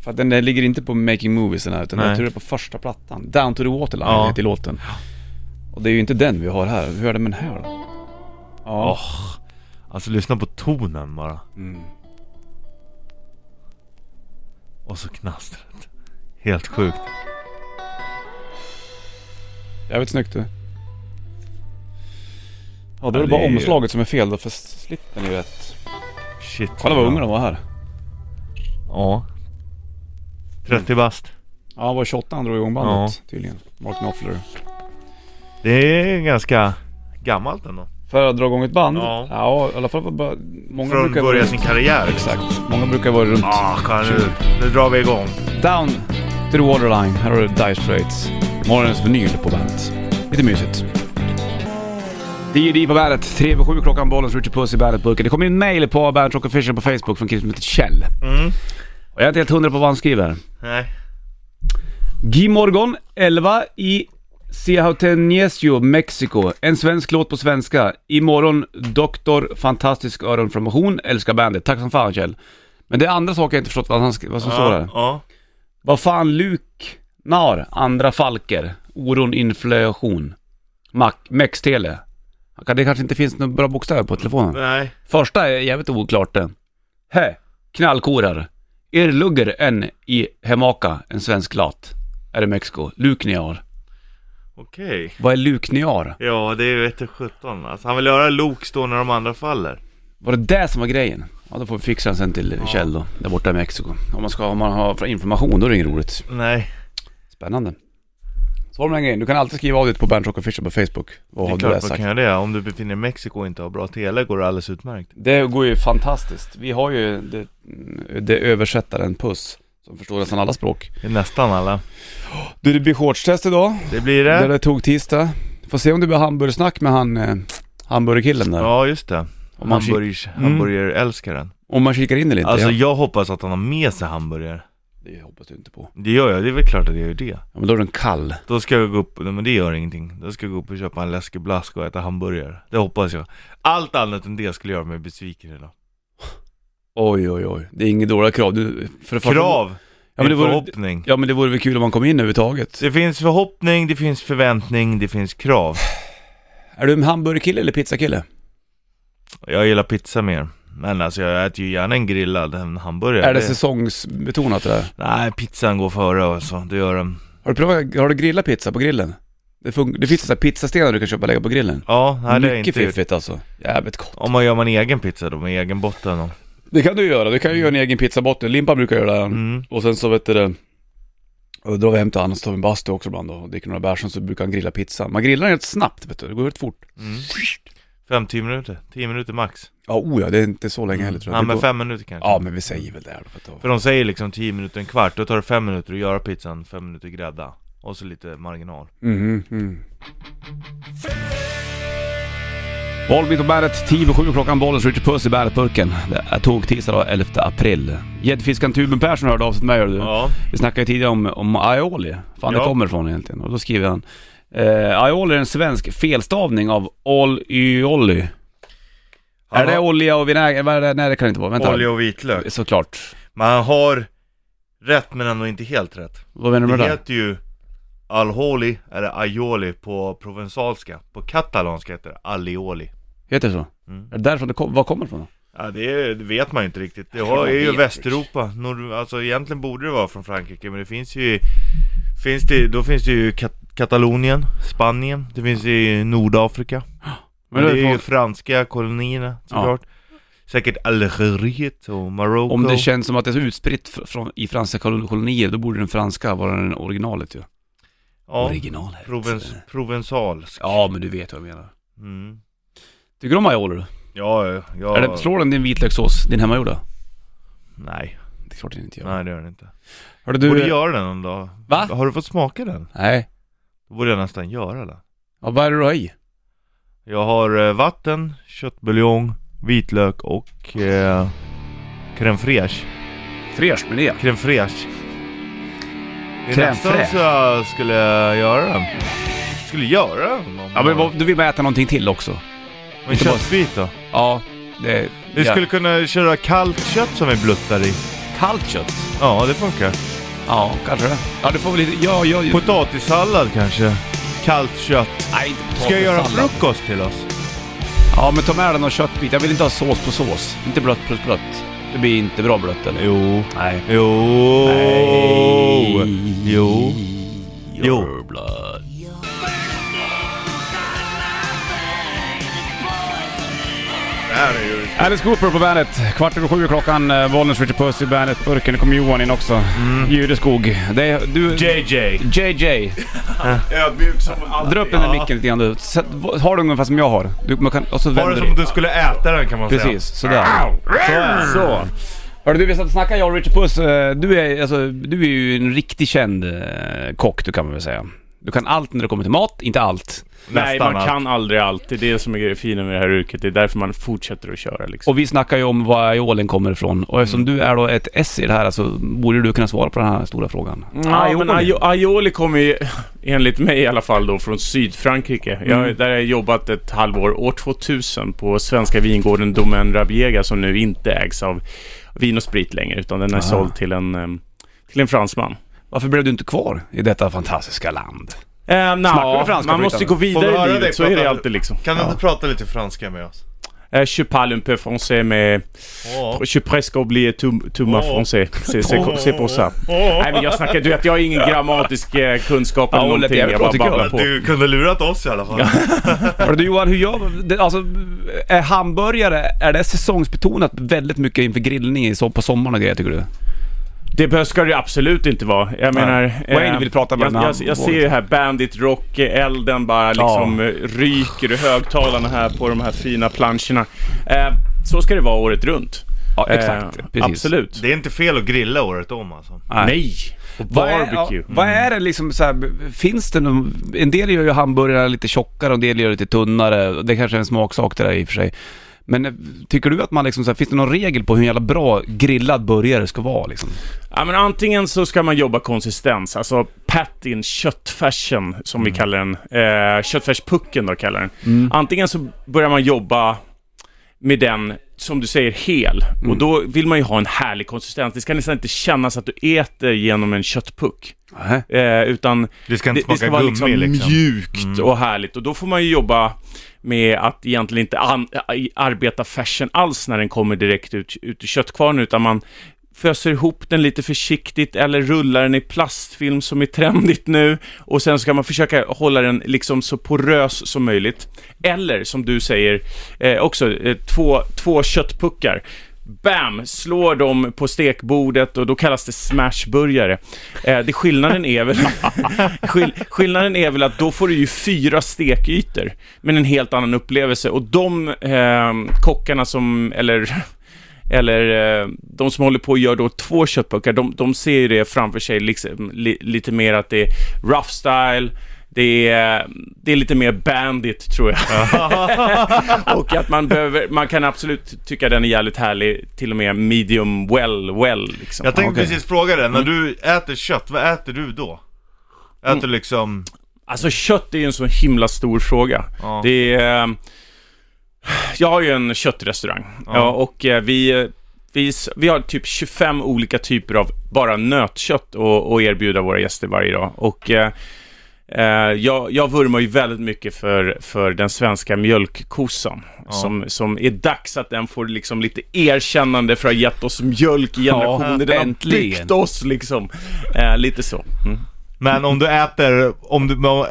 Speaker 1: För att den där ligger inte på Making Movies den här, utan
Speaker 2: Nej.
Speaker 1: jag tror det är på första plattan. Down to the Waterline
Speaker 2: Ja.
Speaker 1: heter låten. Och det är ju inte den vi har här. Hur är det med den här då? Ja.
Speaker 2: Åh, alltså lyssna på tonen bara.
Speaker 1: Mm.
Speaker 2: Och så knastret. Helt sjukt.
Speaker 1: Jävligt snyggt du. Ja, då
Speaker 2: Ja,
Speaker 1: är det bara
Speaker 2: det är ju-
Speaker 1: omslaget som är fel då, för slitten är ju rätt.
Speaker 2: Shit.
Speaker 1: Kolla vad unga de var här.
Speaker 2: Ja. 30 bast.
Speaker 1: Ja, han var 28 när han drog igång bandet tydligen. Mark Knopfler.
Speaker 2: Det är ganska gammalt ändå.
Speaker 1: För att dra igång ett band?
Speaker 2: Ja.
Speaker 1: ja i alla fall var bara, många
Speaker 2: Från
Speaker 1: brukar
Speaker 2: börja
Speaker 1: vara
Speaker 2: sin
Speaker 1: runt.
Speaker 2: karriär.
Speaker 1: Exakt. Många brukar vara runt.
Speaker 2: Ah, kan nu, nu drar vi igång.
Speaker 1: Down to the Waterline. Här har du Dire Straits. Morgonens vinyl på bandet. Lite mysigt. D&D på bandet. 3 över 7 klockan, bollens Richard Puss i bandetburken. Det kom in mail på Bandet Rock Official på Facebook från killen som heter Kjell.
Speaker 2: Mm.
Speaker 1: Och jag är inte helt hundra på vad han skriver.
Speaker 2: Nej.
Speaker 1: Gimorgon 11 i Ciautenesio, Mexiko. En svensk låt på svenska. Imorgon, Doktor Fantastisk Öronformation. Älskar bandet. Tack som fan Kjell. Men det är andra saker jag inte förstått vad, han, sk- vad som står där.
Speaker 2: Ja.
Speaker 1: Vad fan Luknar, andra falker, oron, inflation, Mac, Mextele. Det kanske inte finns några bra bokstäver på telefonen.
Speaker 2: Nej.
Speaker 1: Första är jävligt oklart det. Hä, knallkorar. Irrlugger en i Hemaka, en svensk lat. Är det Mexiko? Lukniar.
Speaker 2: Okej.
Speaker 1: Vad är lukniar?
Speaker 2: Ja, det är ju sjutton. Alltså, han vill göra Loks då när de andra faller.
Speaker 1: Var det det som var grejen? Ja, då får vi fixa den sen till Kjell då, där borta i Mexiko. Om man ska om man har information, då är det inget roligt.
Speaker 2: Nej.
Speaker 1: Spännande. Så var det den grejen, du kan alltid skriva av dig på Bandrock Official på Facebook. Vad har
Speaker 2: det är
Speaker 1: du där
Speaker 2: klart man
Speaker 1: sagt?
Speaker 2: kan göra det. Om du befinner dig i Mexiko och inte har bra tele går det alldeles utmärkt.
Speaker 1: Det går ju fantastiskt. Vi har ju det, det översättaren Puss, som förstår nästan alla språk.
Speaker 2: Det är nästan alla.
Speaker 1: Du, det blir shortstest idag.
Speaker 2: Det blir
Speaker 1: Det
Speaker 2: det.
Speaker 1: där tog tisdag. Får se om det blir hamburgersnack med han, eh, hamburgerkillen där.
Speaker 2: Ja, just det.
Speaker 1: Om man kik-
Speaker 2: Hamburgers, hamburgerälskaren.
Speaker 1: Om man kikar in eller inte.
Speaker 2: Alltså
Speaker 1: ja.
Speaker 2: jag hoppas att han har med sig hamburgare.
Speaker 1: Det hoppas du inte på.
Speaker 2: Det gör jag, det är väl klart att jag gör det.
Speaker 1: Ja, men då är den kall.
Speaker 2: Då ska jag gå upp, nej men det gör ingenting. Då ska jag gå upp och köpa en läskig blask och äta hamburgare. Det hoppas jag. Allt annat än det skulle göra mig besviken idag.
Speaker 1: Oj, oj, oj. Det är inget dåliga krav. Du, för det första-
Speaker 2: Krav!
Speaker 1: Ja men, det vore,
Speaker 2: förhoppning.
Speaker 1: ja men det vore väl kul om man kom in överhuvudtaget.
Speaker 2: Det finns förhoppning, det finns förväntning, det finns krav.
Speaker 1: Är du en hamburgerkille eller pizzakille?
Speaker 2: Jag gillar pizza mer. Men alltså jag äter ju gärna en grillad än hamburgare.
Speaker 1: Är det
Speaker 2: Det-
Speaker 1: säsongsbetonat det där?
Speaker 2: Nej, pizzan går före alltså. Det gör den.
Speaker 1: Har du provat, har du grillat pizza på grillen? Det, fun- det finns sådana pizzastenar du kan köpa och lägga på grillen.
Speaker 2: Ja, nej det är
Speaker 1: Mycket
Speaker 2: inte gjort.
Speaker 1: fiffigt alltså. Jävligt gott.
Speaker 2: Om man gör man egen pizza då, med egen botten och...
Speaker 1: Det kan du göra, du kan ju göra en egen pizzabotten. Limpan brukar göra det.
Speaker 2: Mm.
Speaker 1: Och sen så vet du det. Och då drar vi hem till honom, så tar vi en bastu också ibland då. Och dricker några bärs, och så brukar han grilla pizza. Man grillar den helt snabbt vet du, det går rätt fort.
Speaker 2: Mm. Fem, tio minuter. Tio minuter max.
Speaker 1: Ja, oh ja, det är inte så länge heller tror jag.
Speaker 2: Mm. Ja,
Speaker 1: Det
Speaker 2: men
Speaker 1: går-
Speaker 2: fem minuter kanske.
Speaker 1: ja, men vi säger väl det här då. för att-
Speaker 2: För de säger liksom 10 minuter, en kvart, då tar det 5 minuter att göra pizzan, 5 minuter grädda och så lite marginal
Speaker 1: Mhm, mm. Bollbit och bandet, 10 7 klockan, Bollens Richard Puss i bandetburken. Det är tog tisdag då, 11 april. Gäddfiskaren Tuben Persson hörde av sig till mig hörde du.
Speaker 2: Ja,
Speaker 1: Vi snackade ju tidigare om, om aioli, fan det
Speaker 2: Ja.
Speaker 1: kommer ifrån egentligen. Och då skriver han, eh, aioli är en svensk felstavning av all-yolly. Är det olja och vinäger? Vad är det? Nej det kan det inte vara, vänta.
Speaker 2: olja och vitlök?
Speaker 1: Såklart.
Speaker 2: Man har rätt men ändå inte helt rätt
Speaker 1: Vad menar du med
Speaker 2: Det
Speaker 1: det? där?
Speaker 2: heter ju alholi, eller aioli på provensalska På katalanska heter det alioli
Speaker 1: Heter det så?
Speaker 2: Mm.
Speaker 1: Är det därifrån det kom, var kommer det ifrån då?
Speaker 2: Ja det, är, det vet man ju inte riktigt, det
Speaker 1: Jag
Speaker 2: har, är ju
Speaker 1: vet
Speaker 2: Västeuropa, Nord, alltså egentligen borde det vara från Frankrike men det finns ju finns det, Då finns det ju Kat- Katalonien, Spanien, det finns i Nordafrika Men det, är ju franska kolonierna såklart Säkert Algeriet och Marocko
Speaker 1: Om det känns som att det är så utspritt fr- från, i franska kolon- kolonier, då borde den franska vara den originalet ju.
Speaker 2: ja,
Speaker 1: Originalet.
Speaker 2: provens, provensalsk
Speaker 1: Ja, men du vet vad jag menar.
Speaker 2: mm.
Speaker 1: Tycker du om aioli du?
Speaker 2: Ja, ja, ja.
Speaker 1: Är det, slår den din vitlökssås, din hemmagjorda?
Speaker 2: Nej,
Speaker 1: Det är klart den inte gör.
Speaker 2: nej det gör den inte
Speaker 1: Hörde
Speaker 2: Borde
Speaker 1: du...
Speaker 2: göra den någon dag
Speaker 1: Va?
Speaker 2: Har du fått smaka den?
Speaker 1: Nej.
Speaker 2: Då borde jag nästan göra den
Speaker 1: Ja, vad är det du har i?
Speaker 2: Jag har eh, vatten, köttbuljong, vitlök och eh, crème fraîche
Speaker 1: Fräscht med det.
Speaker 2: Crème fraîche Det är
Speaker 1: Crème
Speaker 2: nästan
Speaker 1: fraîche.
Speaker 2: så jag skulle göra den Skulle göra den om-
Speaker 1: Ja, men vad- du vill bara äta någonting till också.
Speaker 2: Men köttbit då?
Speaker 1: Ja, det...
Speaker 2: Vi skulle kunna köra kallt kött som vi bluttar i.
Speaker 1: Kallt kött?
Speaker 2: Ja, det funkar.
Speaker 1: Ja, kanske det. Ja, du får väl lite... Ja, ja, ja.
Speaker 2: Potatissallad kanske. Kallt kött.
Speaker 1: Nej, inte
Speaker 2: Ska jag göra
Speaker 1: potatissallad.
Speaker 2: frukost till oss?
Speaker 1: Ja, men ta med dig någon köttbit. Jag vill inte ha sås på sås. Inte blött plus blött. Det blir inte bra blött eller?
Speaker 2: Jo.
Speaker 1: Nej.
Speaker 2: Jo. Oh! Jo. Jo.
Speaker 1: Your blood. Alice Cooper på bandet. Kvart över sju är klockan. Eh, Bollnäs, Richard Puss i bandet. Burken, nu kommer Johan in också.
Speaker 2: Mm.
Speaker 1: Jureskog. Det är du...
Speaker 2: JJ.
Speaker 1: JJ.
Speaker 3: Ödmjuk som alltid.
Speaker 1: Äh. Dra upp den där micken lite grann du. Sätt, har du ungefär som jag har. Du, man kan, och så
Speaker 2: Bara
Speaker 1: vänder
Speaker 2: som
Speaker 1: du.
Speaker 2: om du skulle äta den kan man säga.
Speaker 1: Precis, sådär. Så. Hörru du, vi satt och snackade jag och Richard Puss. Eh, Du är, alltså, du är ju en riktigt känd eh, kock, du kan man väl säga. Du kan allt när det kommer till mat, inte allt.
Speaker 3: Nej,
Speaker 2: Nästan
Speaker 3: man
Speaker 2: allt.
Speaker 3: kan aldrig allt. Det är det som är det fina med det här yrket. Det är därför man fortsätter att köra liksom.
Speaker 1: Och vi snackar ju om var aiolin kommer ifrån. Och eftersom du är då ett S i det här så borde du kunna svara på den här stora frågan.
Speaker 3: Ja, Ah, men aio- aioli kommer ju, enligt mig i alla fall då, från Sydfrankrike. Jag, där har jag jobbat ett halvår, år 2000, på svenska vingården Domaine Rabiega som nu inte ägs av Vin och Sprit längre, utan den är såld till en, em, till en fransman.
Speaker 1: Varför blev du inte kvar i detta fantastiska land?
Speaker 3: Eh,
Speaker 1: Snackar du
Speaker 3: nja,
Speaker 1: franska
Speaker 3: man måste
Speaker 1: förut,
Speaker 3: gå
Speaker 2: Får vi
Speaker 3: vidare
Speaker 2: höra
Speaker 3: i
Speaker 2: dig
Speaker 3: livet, så är
Speaker 2: prata?
Speaker 3: det alltid liksom.
Speaker 2: Kan du inte prata lite franska med oss?
Speaker 3: Eh, Je parle un peu français, mais
Speaker 2: Åh.
Speaker 3: Je suis presque oublié tout, tout ma français. C'est- C'est
Speaker 2: Åh.
Speaker 3: c'est pour ça. Nej men jag snackar, du vet jag har ingen grammatisk eh, kunskap eller
Speaker 1: Ja, Olle, det
Speaker 3: någonting.
Speaker 1: är
Speaker 3: Jag bara
Speaker 1: jävligt bra, tycker
Speaker 3: babblar
Speaker 1: jag.
Speaker 3: på.
Speaker 2: Du kunde lurat oss i alla fall.
Speaker 1: Hörru du Johan, hur gör det, Alltså, är hamburgare, är det säsongsbetonat väldigt mycket inför grillning i, så- på sommaren och grejer tycker du?
Speaker 3: Det bör- ska det absolut inte vara. Jag
Speaker 1: Nej.
Speaker 3: menar... eh,
Speaker 1: Wayne vill prata med
Speaker 3: jag,
Speaker 1: den här
Speaker 3: jag, jag ser ju här Bandit Rock, eh, elden bara liksom eh, ryker ur högtalarna här på de här fina planscherna. Eh, så ska det vara året runt.
Speaker 1: Ja, exakt.
Speaker 3: Eh,
Speaker 1: precis.
Speaker 3: Absolut.
Speaker 2: Det är inte fel att grilla året om alltså.
Speaker 3: Nej! Och
Speaker 1: Vad är, ja,
Speaker 3: barbecue.
Speaker 1: vad är det liksom så här, finns det någon, en del gör ju hamburgarna lite tjockare och en del gör det lite tunnare. Det kanske är en smaksak det där i och för sig. Men eh, tycker du att man liksom så här, finns det någon regel på hur jävla bra grillad burgare ska vara liksom?
Speaker 3: Ja, men antingen så ska man jobba konsistens, alltså patin, köttfärsen som vi kallar den. Eh, köttfärspucken då kallar den. Antingen så börjar man jobba med den, som du säger, hel. Och då vill man ju ha en härlig konsistens. Det ska nästan inte kännas att du äter genom en köttpuck.
Speaker 1: Nej.
Speaker 3: Eh, utan
Speaker 2: Det ska inte
Speaker 3: det, det
Speaker 2: smaka
Speaker 3: ska vara
Speaker 2: gummi
Speaker 3: liksom
Speaker 2: liksom.
Speaker 3: mjukt och härligt. Och då får man ju jobba med att egentligen inte an, i- arbeta färsen alls när den kommer direkt ut, ut ur köttkvarnen, utan man föser ihop den lite försiktigt eller rullar den i plastfilm som är trendigt nu och sen ska man försöka hålla den liksom så porös som möjligt. Eller som du säger eh, också, eh, två, två köttpuckar. Bam! Slår dem på stekbordet och då kallas det smashburgare. Eh, det skillnaden är väl... skill, skillnaden är väl att då får du ju fyra stekytor, men en helt annan upplevelse. Och de eh, kockarna som, eller eller eh, de som håller på och gör då två köttpuckar, de, de ser ju det framför sig liksom, li, lite mer att det är rough style, det är, det är lite mer bandit tror jag. och att man behöver, man kan absolut tycka den är jävligt härlig, till och med medium well well liksom.
Speaker 2: Jag tänkte
Speaker 1: Ah, Okej. Mm.
Speaker 2: precis fråga det, när du äter kött, vad äter du då? Äter
Speaker 1: Mm.
Speaker 2: du liksom...
Speaker 3: Alltså kött är ju en så himla stor fråga.
Speaker 2: Ja.
Speaker 3: Det är... eh, Jag har ju en köttrestaurang. Ja, och eh, vi, eh, vi, s- vi har typ 25 olika typer av bara nötkött att att erbjuda våra gäster varje dag. Och eh, eh, jag, jag vurmar ju väldigt mycket för, för den svenska mjölkkossan. Som, som är dags att den får liksom lite erkännande för att ha gett oss mjölk i generationer. den har
Speaker 1: äntligen.
Speaker 3: byggt oss liksom. Eh, lite så. Mm.
Speaker 2: Men om du äter, om du... men-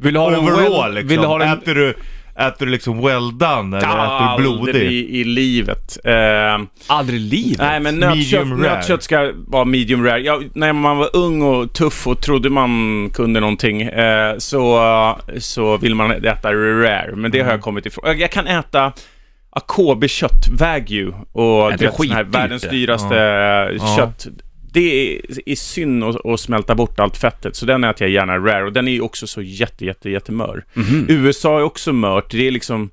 Speaker 1: Vill du ha den
Speaker 2: Overall
Speaker 1: well-
Speaker 2: liksom.
Speaker 1: Vill du ha den... Ah,
Speaker 2: äter, du, äter du liksom well done eller äter du blodig?
Speaker 3: Aldrig i livet. Eh,
Speaker 1: Aldrig i livet.
Speaker 3: Nej, men nötkött,
Speaker 2: Medium rare.
Speaker 3: nötkött ska vara medium rare. Ja, när man var ung och tuff och trodde man kunde någonting eh, så, så vill man äta rare, men det har jag kommit ifrån. Jag- Jag kan äta Akobe-kött, Wagyu och
Speaker 1: det
Speaker 3: du vet, sån här
Speaker 1: skitdyrt det.
Speaker 3: världens dyraste eh, kött. Det är, är synd att, att smälta bort allt fettet, så den äter jag gärna rare. Och den är ju också så jätte, jätte, jättemör. USA är också mört. Det är liksom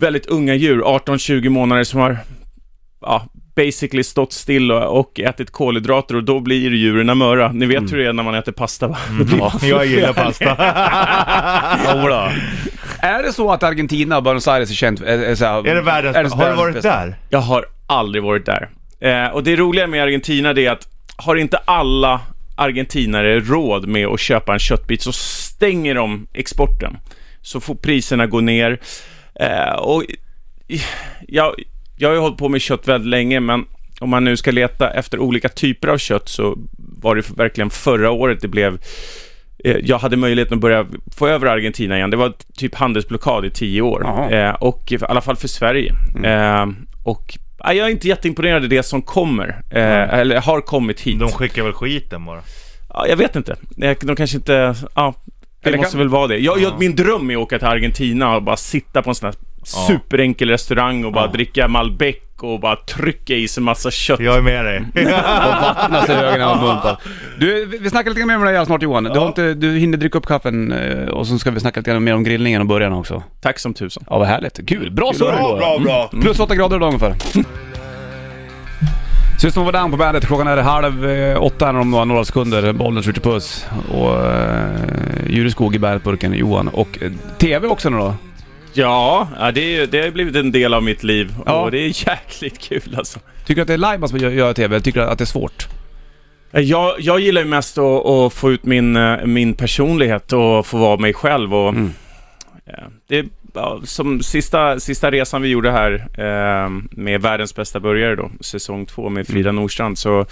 Speaker 3: väldigt unga djur, 18-20 månader, som har ja, basically stått still och, och ätit kolhydrater och då blir djuren möra. Ni vet hur det är när man äter pasta va? Då blir man-
Speaker 2: Jag gillar pasta.
Speaker 1: Jodå. Är det så att Argentina, Buenos Aires är känt... Är, är, så här,
Speaker 2: är det världens
Speaker 1: är det
Speaker 2: Har du
Speaker 1: världens
Speaker 2: varit
Speaker 1: bästa?
Speaker 2: där?
Speaker 3: Jag har aldrig varit där. Eh, och det roliga med Argentina det är att har inte alla argentinare råd med att köpa en köttbit så stänger de exporten. Så får priserna gå ner. Eh, och jag, jag har ju hållit på med kött väldigt länge, men om man nu ska leta efter olika typer av kött så var det verkligen förra året det blev eh, jag hade möjligheten att börja få över Argentina igen. Det var typ handelsblockad i tio år.
Speaker 1: Jaha.
Speaker 3: Eh, och i alla fall för Sverige.
Speaker 1: Mm.
Speaker 3: Eh, och nej, jag är inte jätteimponerad i det som kommer, eh, eller har kommit hit.
Speaker 2: De skickar väl skiten bara.
Speaker 3: Ja, jag vet inte. Eh, De kanske inte... Ja, det
Speaker 1: Eller
Speaker 3: måste
Speaker 1: kan-
Speaker 3: väl vara det. Jag, jag, min dröm är att åka till Argentina och bara sitta på en sån här superenkel restaurang och bara dricka Malbec och bara trycka i sig massa kött.
Speaker 2: Jag är med dig.
Speaker 1: Alltså ögonen har mumpar. Du, vi vi snackar lite mer om det här snart Johan. Du, har inte, du hinner dricka upp kaffen eh, och så ska vi snacka lite mer om grillningen och början också.
Speaker 3: Tack som tusan.
Speaker 1: Ja, vad härligt. Kul. Bra surr
Speaker 2: bra,
Speaker 1: då.
Speaker 2: bra, bra.
Speaker 1: Mm. Plus åtta grader idag ungefär. System of a Down på bandet. Klockan är halv eh, åtta här om några, några sekunder. Bollen skjuter puss. Och eh, Jureskog i bandetburken, Johan. Och eh, TV också nu då.
Speaker 3: Ja, ja, det, är ju- det har blivit en del av mitt liv
Speaker 1: Ja.
Speaker 3: och det är jäkligt kul alltså.
Speaker 1: Tycker du att det är live man ska gö- göra TV? Tycker du att det är svårt?
Speaker 3: Eh, Jag, jag gillar ju mest att, att få ut min, eh, min personlighet och få vara mig själv. Och, eh, det, är, ja, som sista, sista resan vi gjorde här eh, med Världens bästa burgare då, säsong två med Frida Nordstrand, så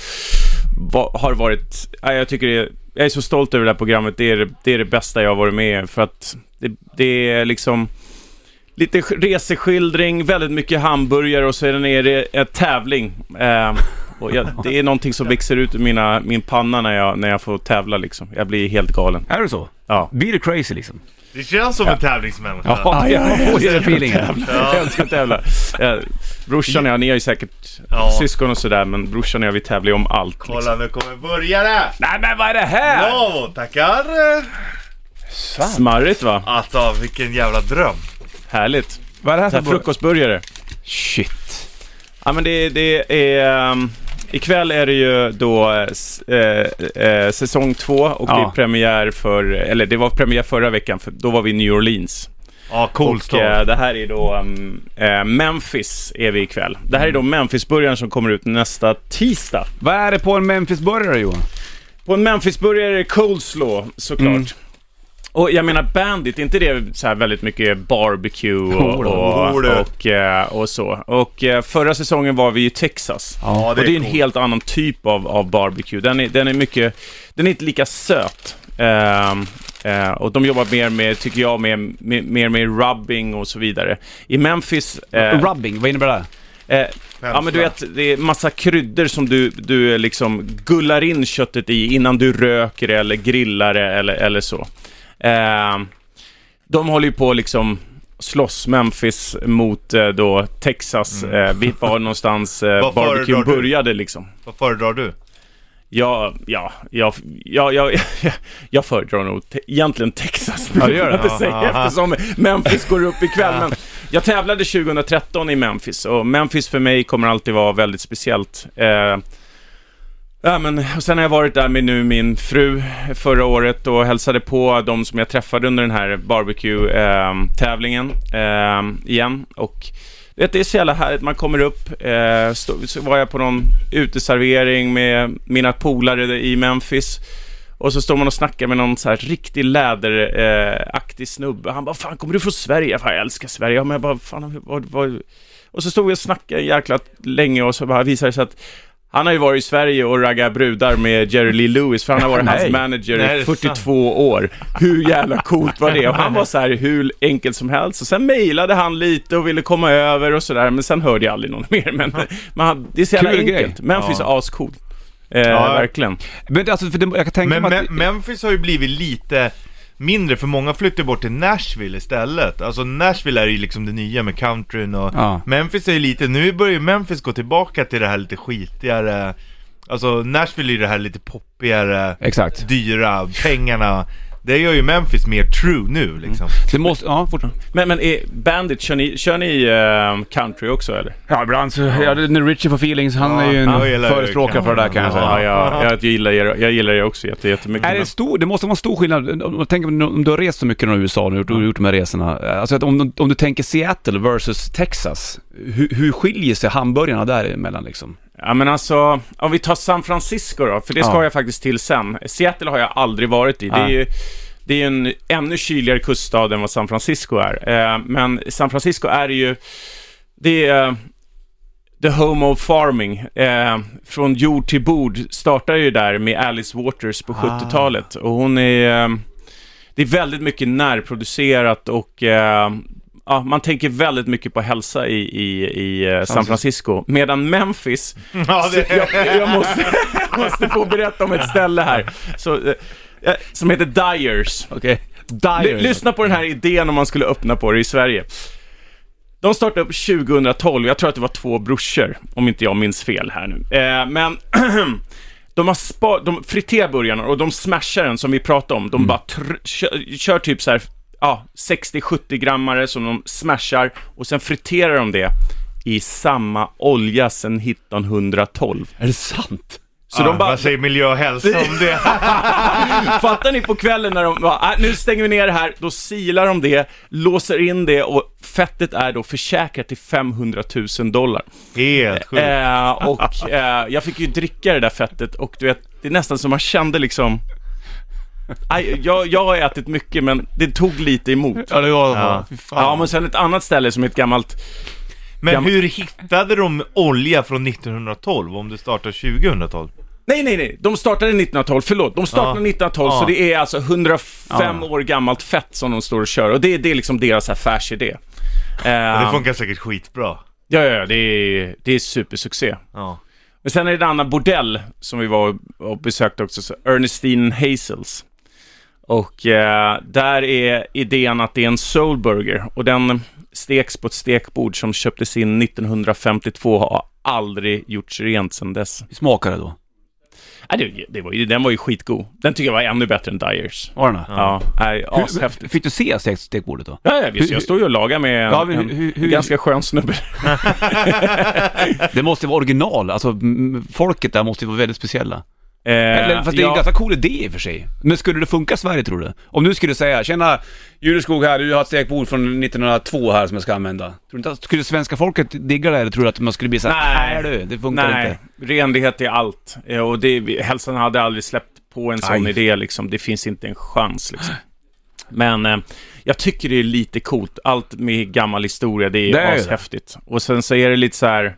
Speaker 3: va, har varit... ja, jag, tycker det, jag är så stolt över det här programmet. Det är det, det är det bästa jag har varit med i, för att det, det är liksom... Lite sk- reseskildring, väldigt mycket hamburgare och sen är det en tävling. Eh, Och jag, det är någonting som växer ut ur mina, min panna när jag, när jag får tävla liksom. Jag blir helt galen.
Speaker 1: Är det så?
Speaker 3: Ja.
Speaker 1: Blir du crazy liksom?
Speaker 2: Det känns som en tävlingsmänniska.
Speaker 1: Ja,
Speaker 3: ja,
Speaker 1: man får ju
Speaker 3: jag
Speaker 1: den feelingen.
Speaker 3: Tävla. Jag älskar att tävla. Eh, brorsan och jag, ni har ju säkert
Speaker 2: Ja.
Speaker 3: syskon och sådär, men brorsan och jag vi tävlar ju om allt. Liksom.
Speaker 2: Kolla nu kommer börjare!
Speaker 1: Nej men vad är det här?
Speaker 2: Bravo, tackar!
Speaker 3: Smarrigt va?
Speaker 2: Alltså vilken jävla dröm.
Speaker 3: Härligt.
Speaker 1: Vad är det här
Speaker 3: Så här
Speaker 1: för
Speaker 2: Alltså,
Speaker 1: frukost?
Speaker 3: frukostburgare.
Speaker 1: Shit.
Speaker 3: Ja men det, det är... Um, ikväll är det ju då eh, s- eh, eh, säsong två och det
Speaker 1: Ja.
Speaker 3: är premiär för, eller det var premiär förra veckan, för då var vi i New Orleans.
Speaker 2: Ja, cool
Speaker 3: Och
Speaker 2: story.
Speaker 3: eh, det här är då um, eh, Memphis är vi ikväll. Det här är
Speaker 1: Mm.
Speaker 3: då Memphis-burgaren som kommer ut nästa tisdag.
Speaker 1: Vad är det på en Memphis-burgare Johan?
Speaker 3: På en Memphis-burgare är det coleslaw såklart.
Speaker 1: Mm.
Speaker 3: Och jag menar Bandit, är inte det så här väldigt mycket barbecue och,
Speaker 1: Jo då,
Speaker 3: och,
Speaker 2: jo då.
Speaker 3: och, eh, och så? Och eh, förra säsongen var vi i Texas.
Speaker 2: Ja,
Speaker 3: och det är en
Speaker 2: coolt.
Speaker 3: helt annan typ av, av barbecue. Den är, den är mycket, den är inte lika söt. Ehm, eh, och de jobbar mer med, tycker jag, med, med, mer med rubbing och så vidare. I Memphis... eh,
Speaker 1: Rubbing, vad innebär det?
Speaker 3: eh, Ja men du vet, det är massa kryddor som du, du liksom gullar in köttet i innan du röker det eller grillar det eller, eller så. Eh, de håller ju på liksom slåss Memphis mot eh, då Texas. Eh, vi var någonstans eh,
Speaker 2: Mm. Vad föredrar
Speaker 3: barbecuen
Speaker 2: du?
Speaker 3: började liksom.
Speaker 2: Vad föredrar du?
Speaker 3: Ja, ja, ja, ja, ja, jag föredrar nog te- egentligen Texas, ja,
Speaker 1: det gör
Speaker 3: jag
Speaker 1: det.
Speaker 3: inte säga,
Speaker 2: Ja.
Speaker 3: eftersom Memphis går upp ikväll. Men jag tävlade 2013 i Memphis och Memphis för mig kommer alltid vara väldigt speciellt. Eh, ja, men, och sen har jag varit där med nu min fru förra året och hälsade på de som jag träffade under den här barbecue-tävlingen eh, igen. Och du vet, det är så jävla härligt. Man kommer upp. Eh, stå, så var jag på någon uteservering med mina polare i Memphis. Och så står man och snackar med någon så här riktig läderaktig eh, aktig snubbe. Han bara, fan kommer du från Sverige? Fan, jag älskar Sverige. Ja, men jag bara, fan, vad, vad... Och så stod vi och snackade jäkla länge och så bara visade det sig att han har ju varit i Sverige och raggat brudar med Jerry Lee Lewis, för han har varit
Speaker 1: Nej.
Speaker 3: hans manager
Speaker 2: Nej, det
Speaker 3: i
Speaker 2: är
Speaker 3: 42
Speaker 2: sant.
Speaker 3: år. Hur jävla coolt var det? Och han var så här hur enkelt som helst. Och sen mejlade han lite och ville komma över och sådär, men sen hörde jag aldrig någon mer. Men, men han, det är så jävla
Speaker 1: Kul grej.
Speaker 3: enkelt. Memphis är ascool. Eh,
Speaker 2: Ja.
Speaker 3: Verkligen.
Speaker 1: Men alltså, för det, jag kan tänka
Speaker 2: Men
Speaker 1: mig
Speaker 2: Me-
Speaker 1: att...
Speaker 2: Memphis har ju blivit lite mindre, för många flyttar bort till Nashville istället. Alltså Nashville är ju liksom det nya med countryn och
Speaker 1: Ja.
Speaker 2: Memphis är ju lite, nu börjar ju Memphis gå tillbaka till det här lite skitigare Alltså Nashville är ju det här lite poppigare,
Speaker 1: Exakt.
Speaker 2: dyra, pengarna Det gör ju Memphis mer true nu liksom
Speaker 1: Det måste... Ja, fort.
Speaker 3: Men, men är Bandit, kör ni, kör ni eh, country också eller?
Speaker 1: Ja, ibland så... Ja, det- när Richie får feelings, han är ju en
Speaker 2: han gillar ju
Speaker 1: förespråkare för det där kan jag säga.
Speaker 2: Ja,
Speaker 3: Ja, jag, jag, gillar, er, jag gillar er också jätte- jättemycket.
Speaker 1: Är det stor, det måste vara en stor skillnad, om, om- tänk om, om du har rest så mycket i USA nu och gjort, gjort de här resorna. Alltså att om, om du tänker Seattle versus Texas, hur, hur skiljer sig hamburgarna däremellan liksom?
Speaker 3: Ja men alltså, om vi tar San Francisco då, för det ska
Speaker 1: Ja.
Speaker 3: jag faktiskt till sen. Seattle har jag aldrig varit i. Det är
Speaker 1: Nej.
Speaker 3: ju det är ju en ännu kyligare kuststad än vad San Francisco är. Eh, men San Francisco är ju, det är eh, the home of farming. Eh, från jord till bord startar ju där med Alice Waters på 70-talet. Och hon är, eh, det är väldigt mycket närproducerat och eh, Ja, man tänker väldigt mycket på hälsa i, i, i eh, San Francisco. Medan Memphis,
Speaker 2: Ja, det-
Speaker 3: så jag, jag, måste, jag måste få berätta om ett ställe här. Så, eh, eh, som heter Dyers.
Speaker 1: Okej.
Speaker 3: Ly- lyssna på den här idén om man skulle öppna på det i Sverige. De startade upp 2012, jag tror att det var två brorsor, om inte jag minns fel här nu. Eh, men de har spa- de friterar burgarna och de smashar den som vi pratade om. De bara tr- kör, kör typ så här, ja, 60-70 grammare som de smashar och sen friterar de det i samma olja sedan 1912.
Speaker 1: Är det sant?
Speaker 3: Så
Speaker 2: ja,
Speaker 3: de bara,
Speaker 2: Ah, Vad säger miljö och hälsa om det?
Speaker 3: Fattar ni på kvällen när de bara, "Ah, nu stänger vi ner det här, då silar de det, låser in det och fettet är då försäkrat till 500 000 dollar.
Speaker 2: Helt sjukt
Speaker 3: Eh, och eh, jag fick ju dricka det där fettet och du vet, det är nästan som man kände liksom, aj, jag, jag har ätit mycket men det tog lite emot.
Speaker 1: Ja, det var
Speaker 2: Ja.
Speaker 1: Fy fan.
Speaker 3: Ja, men sen ett annat ställe som är ett gammalt,
Speaker 2: Men
Speaker 3: gam-
Speaker 2: hur hittade de olja från 1912 om det startar 2012?
Speaker 3: nej nej nej, de startade 1912, förlåt, de startade
Speaker 2: Ja.
Speaker 3: 1912
Speaker 2: Ja.
Speaker 3: så det är alltså 105 år gammalt fett som de står och kör och det, det är liksom deras affärsidé. Eh,
Speaker 2: Det funkar säkert skitbra
Speaker 3: Ja, ja, ja, det är, det är supersuccé.
Speaker 2: Ja
Speaker 3: Men sen är det en annan bordell som vi var och besökte också, så Ernestine Hazels. Och eh, där är idén att det är en soulburger och den steks på ett stekbord som köptes in 1952 och har aldrig gjorts rent sedan dess.
Speaker 1: Hur smakar det då?
Speaker 3: Nej, det, det var ju, den var ju skitgod. Den tycker jag var ännu bättre än Dyers.
Speaker 1: Var den det?
Speaker 3: Ja, nej,
Speaker 1: Hur-
Speaker 3: ashäftigt.
Speaker 1: Fick du se stek- stekbordet då?
Speaker 3: Ja, ja, visst.
Speaker 1: Hur-
Speaker 3: Jag står ju och lagar med en,
Speaker 1: Ja, men
Speaker 3: en,
Speaker 1: hur- hur-
Speaker 3: en ganska skön snubbe.
Speaker 1: Det måste vara original, alltså mm, folket där måste ju vara väldigt speciella.
Speaker 3: Eh,
Speaker 1: Eller, fast det är en
Speaker 3: ja.
Speaker 1: ganska cool idé i och för sig. Men skulle det funka i Sverige tror du? Om du skulle säga, tjena Jureskog här, du har ett stekbord från 1902 här som jag ska använda. Tror du inte att, skulle svenska folket digga det här, eller tror du att man skulle bli såhär, nej
Speaker 3: Nej.
Speaker 1: du, det funkar
Speaker 3: Nej,
Speaker 1: inte.
Speaker 3: renlighet är allt. Eh, Och det, vi- hälsan hade aldrig släppt på en sån
Speaker 1: Aj.
Speaker 3: idé, liksom. det finns inte en chans. Liksom. Men eh, jag tycker det är lite coolt, allt med gammal historia, det är,
Speaker 1: Det är ju
Speaker 3: ashäftigt. Och sen så är det lite så här,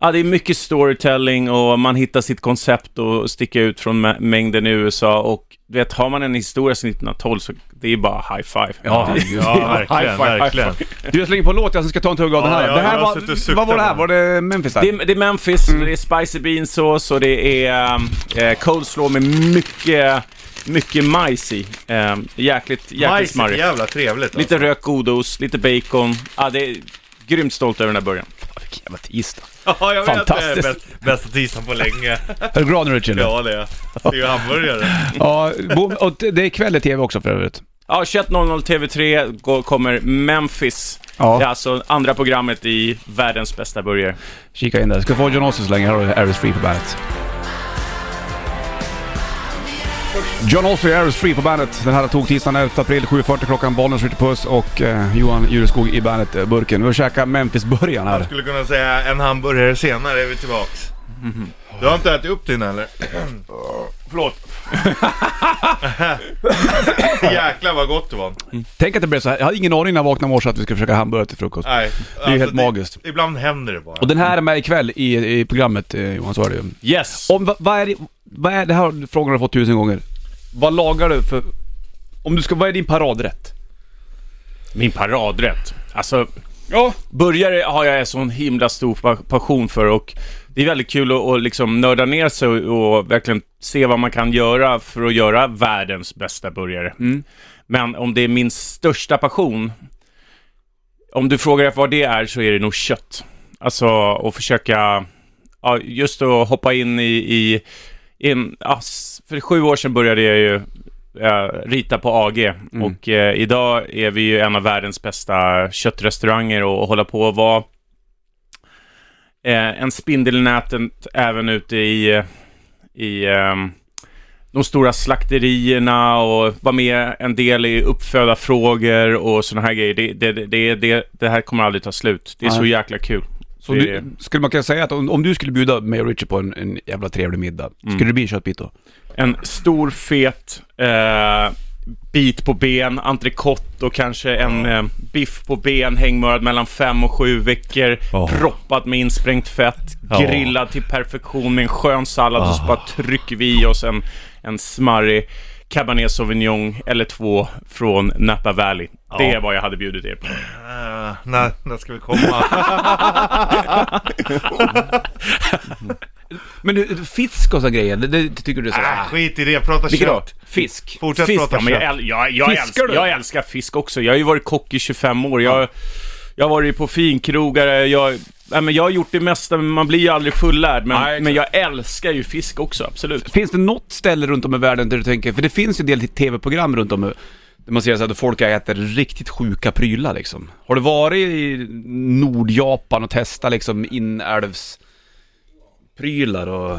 Speaker 3: ja det är mycket storytelling och man hittar sitt koncept och sticker ut från mä- mängden i USA. Och du vet, har man en historia sedan 1912 så det är bara high five.
Speaker 1: Ja, just-
Speaker 2: Ja, verkligen,
Speaker 3: High five, high
Speaker 2: verkligen.
Speaker 1: Du, jag slänger på en låt, jag ska ta en tugga av
Speaker 2: Ja,
Speaker 1: den här.
Speaker 2: ja,
Speaker 1: det här
Speaker 2: jag har suttit och
Speaker 1: var,
Speaker 2: suktat
Speaker 1: vad var det här?
Speaker 2: på
Speaker 1: Var det Memphis här?
Speaker 3: Det är, det är Memphis, det är spicy beansås och det är eh, coleslaw med mycket, mycket majs i. Eh, jäkligt, jäkligt
Speaker 2: Majs är
Speaker 3: smarrigt.
Speaker 2: jävla trevligt
Speaker 3: Lite
Speaker 2: alltså.
Speaker 3: rökt godost, lite bacon. Ja, det är grymt stolt över den här början.
Speaker 1: Vilken jävla tisdag.
Speaker 2: Ja, jag vet det är
Speaker 1: Fantastiskt.
Speaker 2: bäst- bästa tisdagen på länge.
Speaker 1: Är du glad nu Richard?
Speaker 2: Ja det är jag. Det är ju hamburgare.
Speaker 1: Ja, bo- och det det är kväll i TV också för övrigt.
Speaker 3: Ja, 21.00 TV3 går, kommer Memphis.
Speaker 1: Ja.
Speaker 3: Det är alltså andra programmet i världens bästa burgare.
Speaker 1: Kika in där. Ska få John Ossie så länge. Här har du Air is Free på bandet. John Ossie, Air is Free på bandet. Den här tog tisdagen 11 april 7.40 klockan. Bollnäs skjuter puss och eh, Johan Jureskog i bandet-burken. Vi har käkat Memphis-burgaren här.
Speaker 2: Skulle kunna säga en hamburgare senare är vi tillbaks. Du har inte ätit upp din eller? Förlåt. Jäklar vad gott det var.
Speaker 1: Tänk att det blev så här. Jag hade ingen aning när jag vaknade i morse att vi skulle försöka hamburgare till frukost.
Speaker 2: Nej. alltså,
Speaker 1: Det är ju helt magiskt.
Speaker 2: Ibland händer det bara.
Speaker 1: Och den här är med ikväll i, i programmet eh, Johan, så är det ju.
Speaker 3: Yes!
Speaker 1: Om, vad, vad är det, vad är, det här har- frågan har du fått tusen gånger. Vad lagar du för... Om du ska, vad är din paradrätt?
Speaker 3: Min paradrätt. Alltså,
Speaker 1: Ja.
Speaker 3: Burgare har jag en sån himla stor pa- passion för och det är väldigt kul att, att liksom nörda ner sig och, och verkligen se vad man kan göra för att göra världens bästa burgare. Men om det är min största passion, om du frågar efter vad det är så är det nog kött. Alltså att försöka, ja, just att hoppa in i, i in, ja, s- för sju år sedan började jag ju eh, rita på AG
Speaker 1: Mm.
Speaker 3: och eh, idag är vi ju en av världens bästa köttrestauranger och, och hålla på att vara eh, en spindel i nätet även ute i, eh, i ehm, de stora slakterierna och vara med en del i uppfödarfrågor och sådana här grejer. Det, det, det, det, det här kommer aldrig ta slut. Det är så
Speaker 1: Nej.
Speaker 3: jäkla kul.
Speaker 1: Så
Speaker 3: det,
Speaker 1: du, skulle man kunna säga att om, om du skulle bjuda mig och Richard på en, en jävla trevlig middag, skulle det bli en köttbit då?
Speaker 3: en stor fet eh, bit på ben, entrecote och kanske en eh, biff på ben hängmörad mellan fem och sju veckor.
Speaker 1: Ja.
Speaker 3: Proppat med insprängt fett,
Speaker 2: Ja.
Speaker 3: grillad till perfektion med en skön sallad och så bara trycker vi i oss en, en smarrig Cabernet Sauvignon eller två från Napa Valley. Det är vad jag hade bjudit er på.
Speaker 2: Eh, när, när ska vi komma?
Speaker 1: Men du, fisk och sådana grejer, det, det tycker du är sådär...
Speaker 2: Ah, skit i det, prata
Speaker 1: Vilket då?
Speaker 2: kött.
Speaker 1: Fisk.
Speaker 2: Fortsätt
Speaker 3: Fisk,
Speaker 2: prata
Speaker 3: ja, men jag,
Speaker 2: kött.
Speaker 3: äl- jag, jag,
Speaker 1: Fiskar
Speaker 3: älskar,
Speaker 1: du?
Speaker 3: jag älskar fisk också. Jag har ju varit kock i 25 år. Jag, jag har varit på finkrogare, jag, nej, men jag har gjort det mesta, men man blir ju aldrig fullärd. Men,
Speaker 1: Nej, exakt.
Speaker 3: men jag älskar ju fisk också, absolut.
Speaker 1: Finns det något ställe runt om i världen där du tänker, för det finns ju en del tv-program runt om i- där man ser så här, att folk äter riktigt sjuka prylar liksom. Har du varit i Nordjapan och testat liksom inälvsprylar och...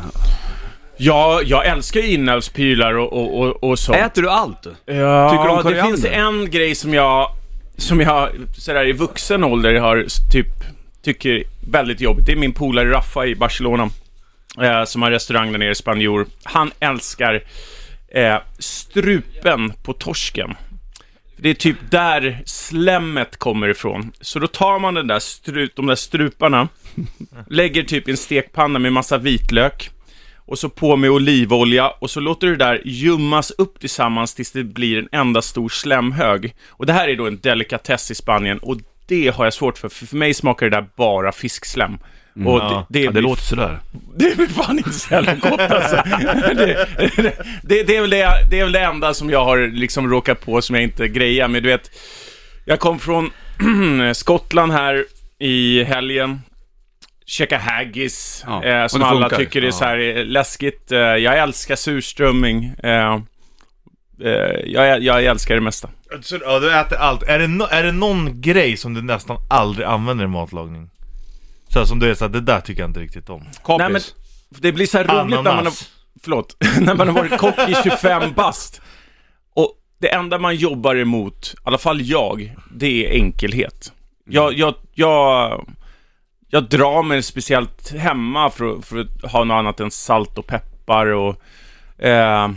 Speaker 3: Jag, jag älskar ju inälvspylar och, och, och, och sånt.
Speaker 1: Äter du allt?
Speaker 3: Ja,
Speaker 1: Tycker du om
Speaker 3: det
Speaker 1: koriander?
Speaker 3: finns en grej som jag, som jag sådär i vuxen ålder har s- typ, tycker är väldigt jobbigt. Det är min polare Raffa i Barcelona, eh, som har restaurang där nere i Spanjor. Han älskar eh, strupen på torsken. Det är typ där slemmet kommer ifrån. Så då tar man den där stru, de där struparna, lägger typ i en stekpanna med massa vitlök, och så på med olivolja och så låter du det där ljummas upp tillsammans tills det blir en enda stor slemhög. Och det här är då en delikatess i Spanien och det har jag svårt för, för för mig smakar det där bara fiskslem. Och
Speaker 2: Ja.
Speaker 3: det, det,
Speaker 1: Mm. Ja, det låter sådär.
Speaker 3: det blir fan inte så jävla gott alltså. det, det, det, är väl det, det är väl det enda som jag har liksom råkat på som jag inte grejar. Men du vet, jag kom från Skottland här i helgen. Käka haggis,
Speaker 1: Ja,
Speaker 3: eh,
Speaker 1: och
Speaker 3: som
Speaker 1: det
Speaker 3: alla
Speaker 1: funkar.
Speaker 3: tycker är så här eh, läskigt. Eh, jag älskar surströmming. Eh, eh, jag, jag älskar det mesta.
Speaker 2: Så, ja, du äter allt. Är det, no, är det någon grej som du nästan aldrig använder i matlagning? Så här, som du är såhär, det där tycker jag inte riktigt om.
Speaker 1: Kapris.
Speaker 3: Nej, men det blir så här roligt när man har...
Speaker 2: Ananas.
Speaker 3: Förlåt. när man har varit kock i 25 bast. Och det enda man jobbar emot, i alla fall jag, det är enkelhet. Jag, jag, jag, jag drar mig speciellt hemma för, att- för att ha något annat än salt och peppar och... Eh,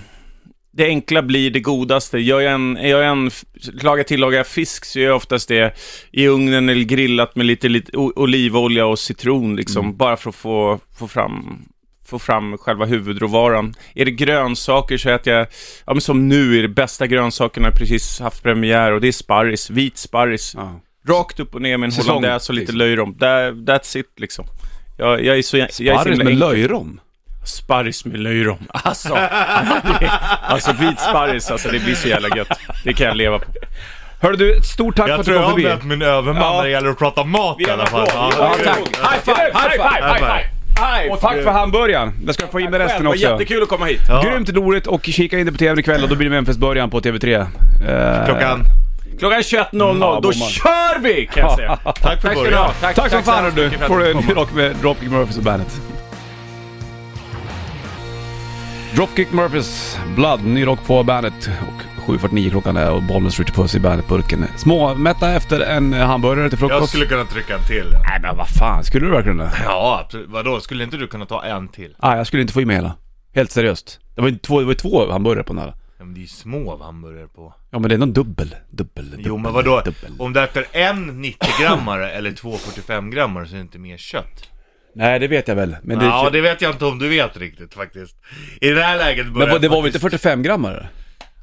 Speaker 3: det enkla blir det godaste. Gör jag en, gör jag en f- lagar tillagar jag fisk så gör jag oftast det i ugnen eller grillat med lite, lite o- olivolja och citron liksom,
Speaker 1: Mm.
Speaker 3: bara för att få, få fram få fram själva huvudråvaran. Är det grönsaker så äter jag, ja men som nu är det bästa grönsakerna precis haft premiär och det är sparris, vit sparris.
Speaker 1: Ja.
Speaker 3: Rakt upp och ner med en
Speaker 1: Säsong,
Speaker 3: hollandaise och lite
Speaker 1: liksom.
Speaker 3: löjrom. That, that's it liksom. Jag, jag är så, jag, jag är så
Speaker 1: Sparris
Speaker 3: himla
Speaker 1: med
Speaker 3: enkel.
Speaker 1: löjrom.
Speaker 3: Sparris med löjrom. Alltså, det- alltså vit sparris, alltså det blir så jävla gött. Det kan jag leva på.
Speaker 1: Hörru du, ett stort tack för
Speaker 2: Jag
Speaker 1: att
Speaker 2: tror
Speaker 1: du
Speaker 2: jag
Speaker 1: kom
Speaker 2: har
Speaker 1: förbi.
Speaker 2: mätt min överman
Speaker 1: Ja.
Speaker 2: när det gäller att prata mat i alla fall. Ja,
Speaker 1: Ja,
Speaker 2: det är
Speaker 1: tack.
Speaker 2: kul.
Speaker 1: High five, high five, high five. Och tack för hamburgaren. Jag ska få in med
Speaker 3: Själv,
Speaker 1: resten
Speaker 3: det var
Speaker 1: också.
Speaker 3: jättekul att komma hit.
Speaker 2: Ja.
Speaker 1: Grymt roligt och kika in det på TVn ikväll och då blir det Memphis-början på TV3. Eh,
Speaker 2: Klockan.
Speaker 3: Klockan 21.00,
Speaker 1: Ja, bommar.
Speaker 3: då kör vi kan jag säga.
Speaker 2: Tack för
Speaker 3: ska du ha.
Speaker 2: början.
Speaker 1: Tack som fan
Speaker 3: så
Speaker 1: du.
Speaker 3: mycket för att
Speaker 1: Får du en
Speaker 3: kom.
Speaker 1: ny rock med Dropkick Murphys och bandet. Dropkick Murphys Blood, ny rock på bandet. Och 7.49 klockan är och Bollnäs Ritchie Puss i bandet-burken. Småmätta efter en hamburgare till frukost.
Speaker 2: Jag skulle kunna trycka en till. ja.
Speaker 1: Nej men vad fan, skulle du verkligen det?
Speaker 2: Ja, absolut. Vadå? Skulle inte du kunna ta en till?
Speaker 1: Nej, jag skulle inte få i mig hela. Helt seriöst. Det var ju två, det var ju två hamburgare på den här.
Speaker 2: Ja, men det är ju små hamburgare på.
Speaker 1: Ja men det är någon dubbel, dubbel, dubbel,
Speaker 2: Jo men vadå?
Speaker 1: dubbel.
Speaker 2: Om du äter en 90-grammare eller två 45-grammare så är det inte mer kött.
Speaker 1: Nej det vet jag väl. Men det,
Speaker 2: Ja, det vet jag inte om du vet riktigt faktiskt. I det här läget börjar
Speaker 1: men vad- det var väl inte
Speaker 2: faktiskt-
Speaker 1: 45 grammar?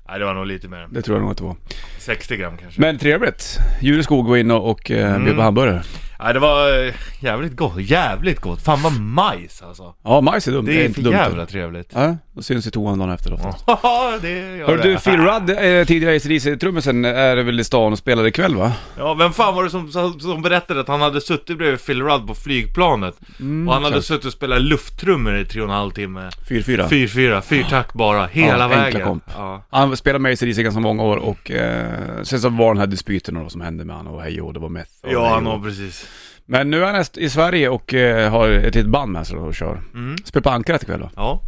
Speaker 2: Nej, det var nog lite mer.
Speaker 1: Det tror jag nog att det var.
Speaker 2: 60 gram kanske.
Speaker 1: Men trevligt. Jureskog var inne och eh, bjöd på
Speaker 2: Mm.
Speaker 1: hamburgare.
Speaker 2: Nej, det var eh, jävligt gott. Jävligt gott. Fan vad majs alltså.
Speaker 1: Ja, majs är dumt.
Speaker 2: Det är,
Speaker 1: inte
Speaker 2: för
Speaker 1: dumt.
Speaker 2: jävla trevligt.
Speaker 1: Ja, då syns i toan dagen efter ofta.
Speaker 2: Ja, det gör
Speaker 1: Hörru du,
Speaker 2: det.
Speaker 1: Phil Rudd, eh, tidigare ACDC-trummisen, är väl i stan och spelar ikväll va?
Speaker 2: Ja, vem fan var det som, som som berättade att han hade suttit bredvid Phil Rudd på flygplanet?
Speaker 1: Mm,
Speaker 2: och han hade
Speaker 1: exakt.
Speaker 2: suttit och spelat lufttrummor i tre och en halv timme.
Speaker 1: 4-4.
Speaker 2: 4-4, fyrtakt bara, hela
Speaker 1: Ja, enkla
Speaker 2: vägen.
Speaker 1: komp.
Speaker 2: Ja.
Speaker 1: Han spelade med ACDC ganska många år och eh, sen så var den här dispyten och vad som hände med han och hej och det var meth. och hej
Speaker 2: Ja,
Speaker 1: och.
Speaker 2: han har precis.
Speaker 1: Men nu är han näst- i Sverige och eh, har ett litet band med sig och kör.
Speaker 2: Mm.
Speaker 1: Spelar på Ankaret ikväll då.
Speaker 2: Ja.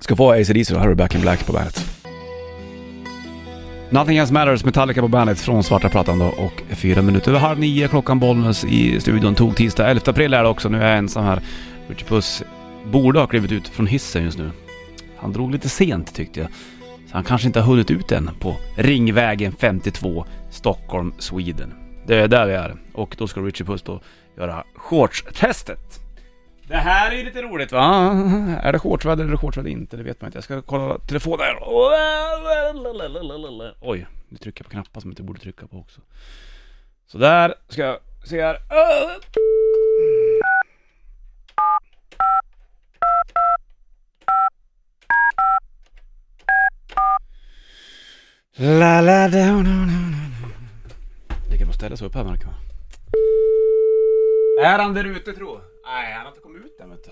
Speaker 1: Ska få ACDC och Harry Back in Black på bandet. Nothing Else Matters, Metallica på bandet från svarta plattan då och fyra minuter över halv nio klockan Bollnäs i studion. Tog tisdag 11 april är det också, nu är jag ensam här. Richie Puss borde ha klivit ut från hissen just nu. Han drog lite sent tyckte jag. Så han kanske inte har hunnit ut än på Ringvägen 52, Stockholm, Sweden. Det är där vi är och då ska Richie Puss då göra shortstestet. Det här är ju lite roligt va? Är det shortsväder eller shortsväder inte? Det vet man inte. Jag ska kolla telefonen här. Oj, nu trycker jag på knappar som jag inte borde trycka på också. Så där ska jag se här. La la da, da, da, da. Det kan man ställa sig upp här märker man. Är han där ute tro? Nej, han har inte kommit ut än vet du.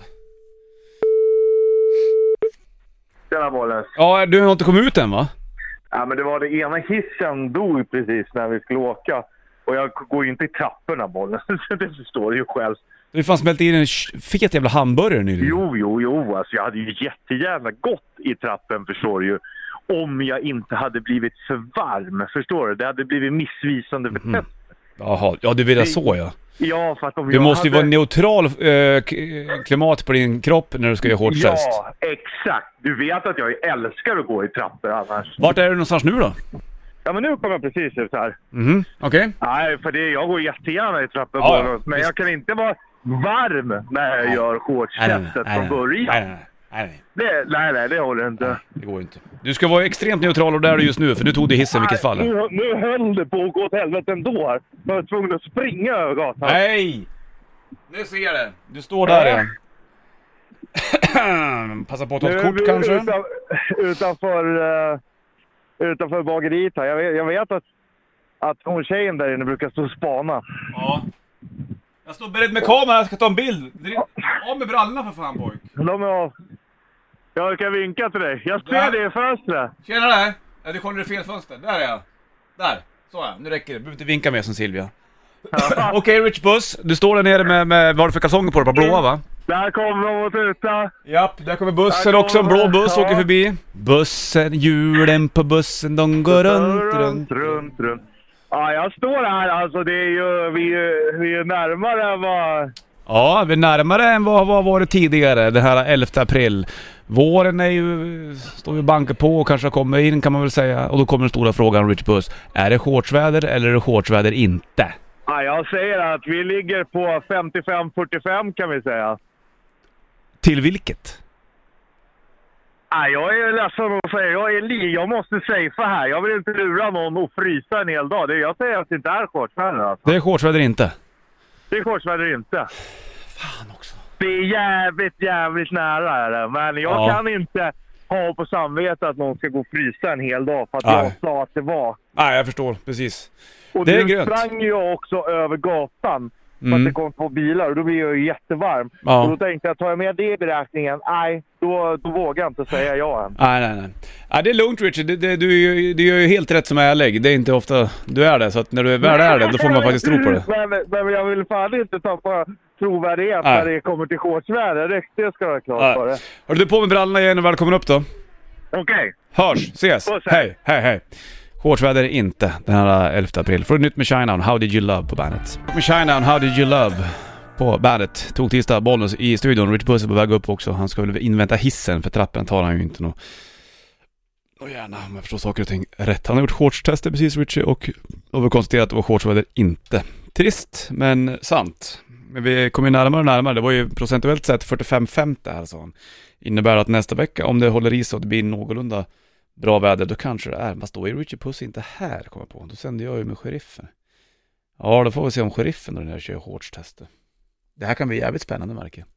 Speaker 4: Tjena Bollens.
Speaker 1: Ja, du har inte kommit ut än va?
Speaker 4: Ja, men det var det ena hissen dog precis när vi skulle åka. Och jag k- går ju inte i trapporna Bollens. det förstår du ju själv.
Speaker 1: Du har fan smält in en sh- fet jävla hamburgare nyligen.
Speaker 4: Jo, jo, jo. Alltså, jag hade ju jättegärna gått i trappen förstår du ju. Om jag inte hade blivit för varm. Förstår du? Det hade blivit missvisande
Speaker 1: Mhm.
Speaker 4: för tätt.
Speaker 1: Jaha, ja du vill jag så ja.
Speaker 4: Ja, för att om
Speaker 1: Du
Speaker 4: jag
Speaker 1: måste ju
Speaker 4: hade...
Speaker 1: vara neutral eh, k- klimat på din kropp när du ska göra shortstest.
Speaker 4: Ja, exakt. Du vet att jag älskar att gå i trappor annars.
Speaker 1: Vart är du någonstans nu då?
Speaker 4: Ja, men nu kom jag precis ut här.
Speaker 1: Mhm, okej.
Speaker 4: Nej, för det, jag går jättegärna i trappor
Speaker 1: Ja,
Speaker 4: bara, men
Speaker 1: visst.
Speaker 4: jag kan inte vara varm när jag gör shortstestet från början.
Speaker 1: Nej, nej, nej, nej.
Speaker 4: Det, nej, nej, det håller inte.
Speaker 1: Det går ju inte. Du ska vara extremt neutral och där är du just nu för du tog dig hissen i vilket fall.
Speaker 4: Nu, nu höll det på att gå åt helvete ändå här. Jag var tvungen att springa över gatan.
Speaker 1: Nej! Nu ser jag det. Du står där ja. Passa på att ta ett kort kanske?
Speaker 4: Utan, utanför, eh, utanför bageriet här. Jag vet, jag vet att, att hon tjejen där inne brukar stå och spana.
Speaker 1: Ja. Jag står beredd med kameran, jag ska ta en bild. Dri- Av med brallorna för fan pojk.
Speaker 4: De är av. Jag kan vinka till dig. Jag
Speaker 1: Där.
Speaker 4: ser dig i fönstret.
Speaker 1: Tjena där! Ja, du kollade i fel fönster. Där är jag. Där. Så ja, nu räcker det. Du behöver inte vinka mer som Silvia. Okej Rich Buss, du står där nere med, med vad har du för kalsonger på dig? Bara blåa va?
Speaker 4: Där kommer de och tutar.
Speaker 1: Japp, där kommer bussen
Speaker 4: Där
Speaker 1: också. En blå
Speaker 4: kommer-
Speaker 1: buss
Speaker 4: ja.
Speaker 1: åker förbi. Bussen, hjulen på bussen, de går runt, runt.
Speaker 4: runt, runt. Ja, jag står här alltså. Det är ju, vi, är ju- vi är ju närmare än vad...
Speaker 1: Ja, vi är närmare än vad vad var det tidigare, den här 11 april. Våren är ju, står ju och bankar på och kanske kommer in kan man väl säga. Och då kommer den stora frågan Rich Buss. Är det shortsväder eller är det shortsväder inte?
Speaker 4: Ja, jag säger att vi ligger på 55-45 kan vi säga.
Speaker 1: Till vilket?
Speaker 4: Nej, jag är ledsen att säga. Jag, är li- jag måste safea här. Jag vill inte lura någon och frysa en hel dag. Det, jag säger att det inte är shortsväder. Alltså.
Speaker 1: Det är shortsväder inte.
Speaker 4: Det är shortsväder inte. Fan också. Det är jävligt, jävligt nära är det. Men jag
Speaker 1: Ja.
Speaker 4: kan inte ha på samvetet att någon ska gå och frysa en hel dag för att
Speaker 1: Nej.
Speaker 4: jag sa att det var.
Speaker 1: Nej, jag förstår. Precis.
Speaker 4: Och
Speaker 1: Det är
Speaker 4: nu
Speaker 1: grönt. Mm.
Speaker 4: sprang jag också över gatan för att det kom två bilar och då blir jag ju jättevarm.
Speaker 1: Ja.
Speaker 4: Och då tänkte jag, tar jag med det i beräkningen? Nej, då, då vågar jag inte säga ja än.
Speaker 1: Nej, nej, nej. Ja, det är lugnt Richard. Det, det, du, är ju- du gör ju helt rätt som ärlig. Det är inte ofta du är det, så att när du väl är det, då får man faktiskt tro på det.
Speaker 4: Men, men jag vill fan inte tappa trovärdighet
Speaker 1: Nej.
Speaker 4: när det kommer till shortsväder. Det, det ska jag ha klart för
Speaker 1: Nej.
Speaker 4: dig.
Speaker 1: Hör du på med brallorna igen och välkommen upp då.
Speaker 4: Okej.
Speaker 1: Hörs, ses,
Speaker 4: Puss, hej.
Speaker 1: hej, hej, hej. Shortsväder är inte den här 11 april. Får du nytt med Shinedown, How Did You Love på bandet. Med Shinedown, How Did You Love på bandet. Tog tisdag, Bollnäs i studion. Rich Puss är på väg upp också. Han ska väl invänta hissen för trappen tar han ju inte nå. Och gärna om jag förstår saker och ting rätt. Han har gjort shortstester precis Richie och har väl konstaterat att det var shortsväder inte. Trist, men sant. Men vi kommer ju närmare och närmare. Det var ju procentuellt sett 45-50 här sa han. Innebär att nästa vecka, om det håller i sig och det blir någorlunda bra väder, då kanske det är. Fast då är Richie Puss inte här, kommer jag på. Då sänder jag ju med sheriffen. Ja, då får vi se om sheriffen då den här kör shortstester. Det här kan bli jävligt spännande märker jag.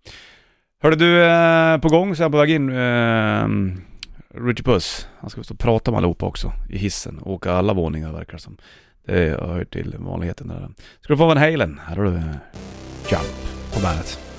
Speaker 1: Hörde du, eh, på gång så här på väg in, eh, Richie Puss. Han ska stå och prata med allihopa också i hissen och åka alla våningar verkar det som. Det hör till vanligheten där. Ska du få Van Halen? Här har du eh, Jump på bandet.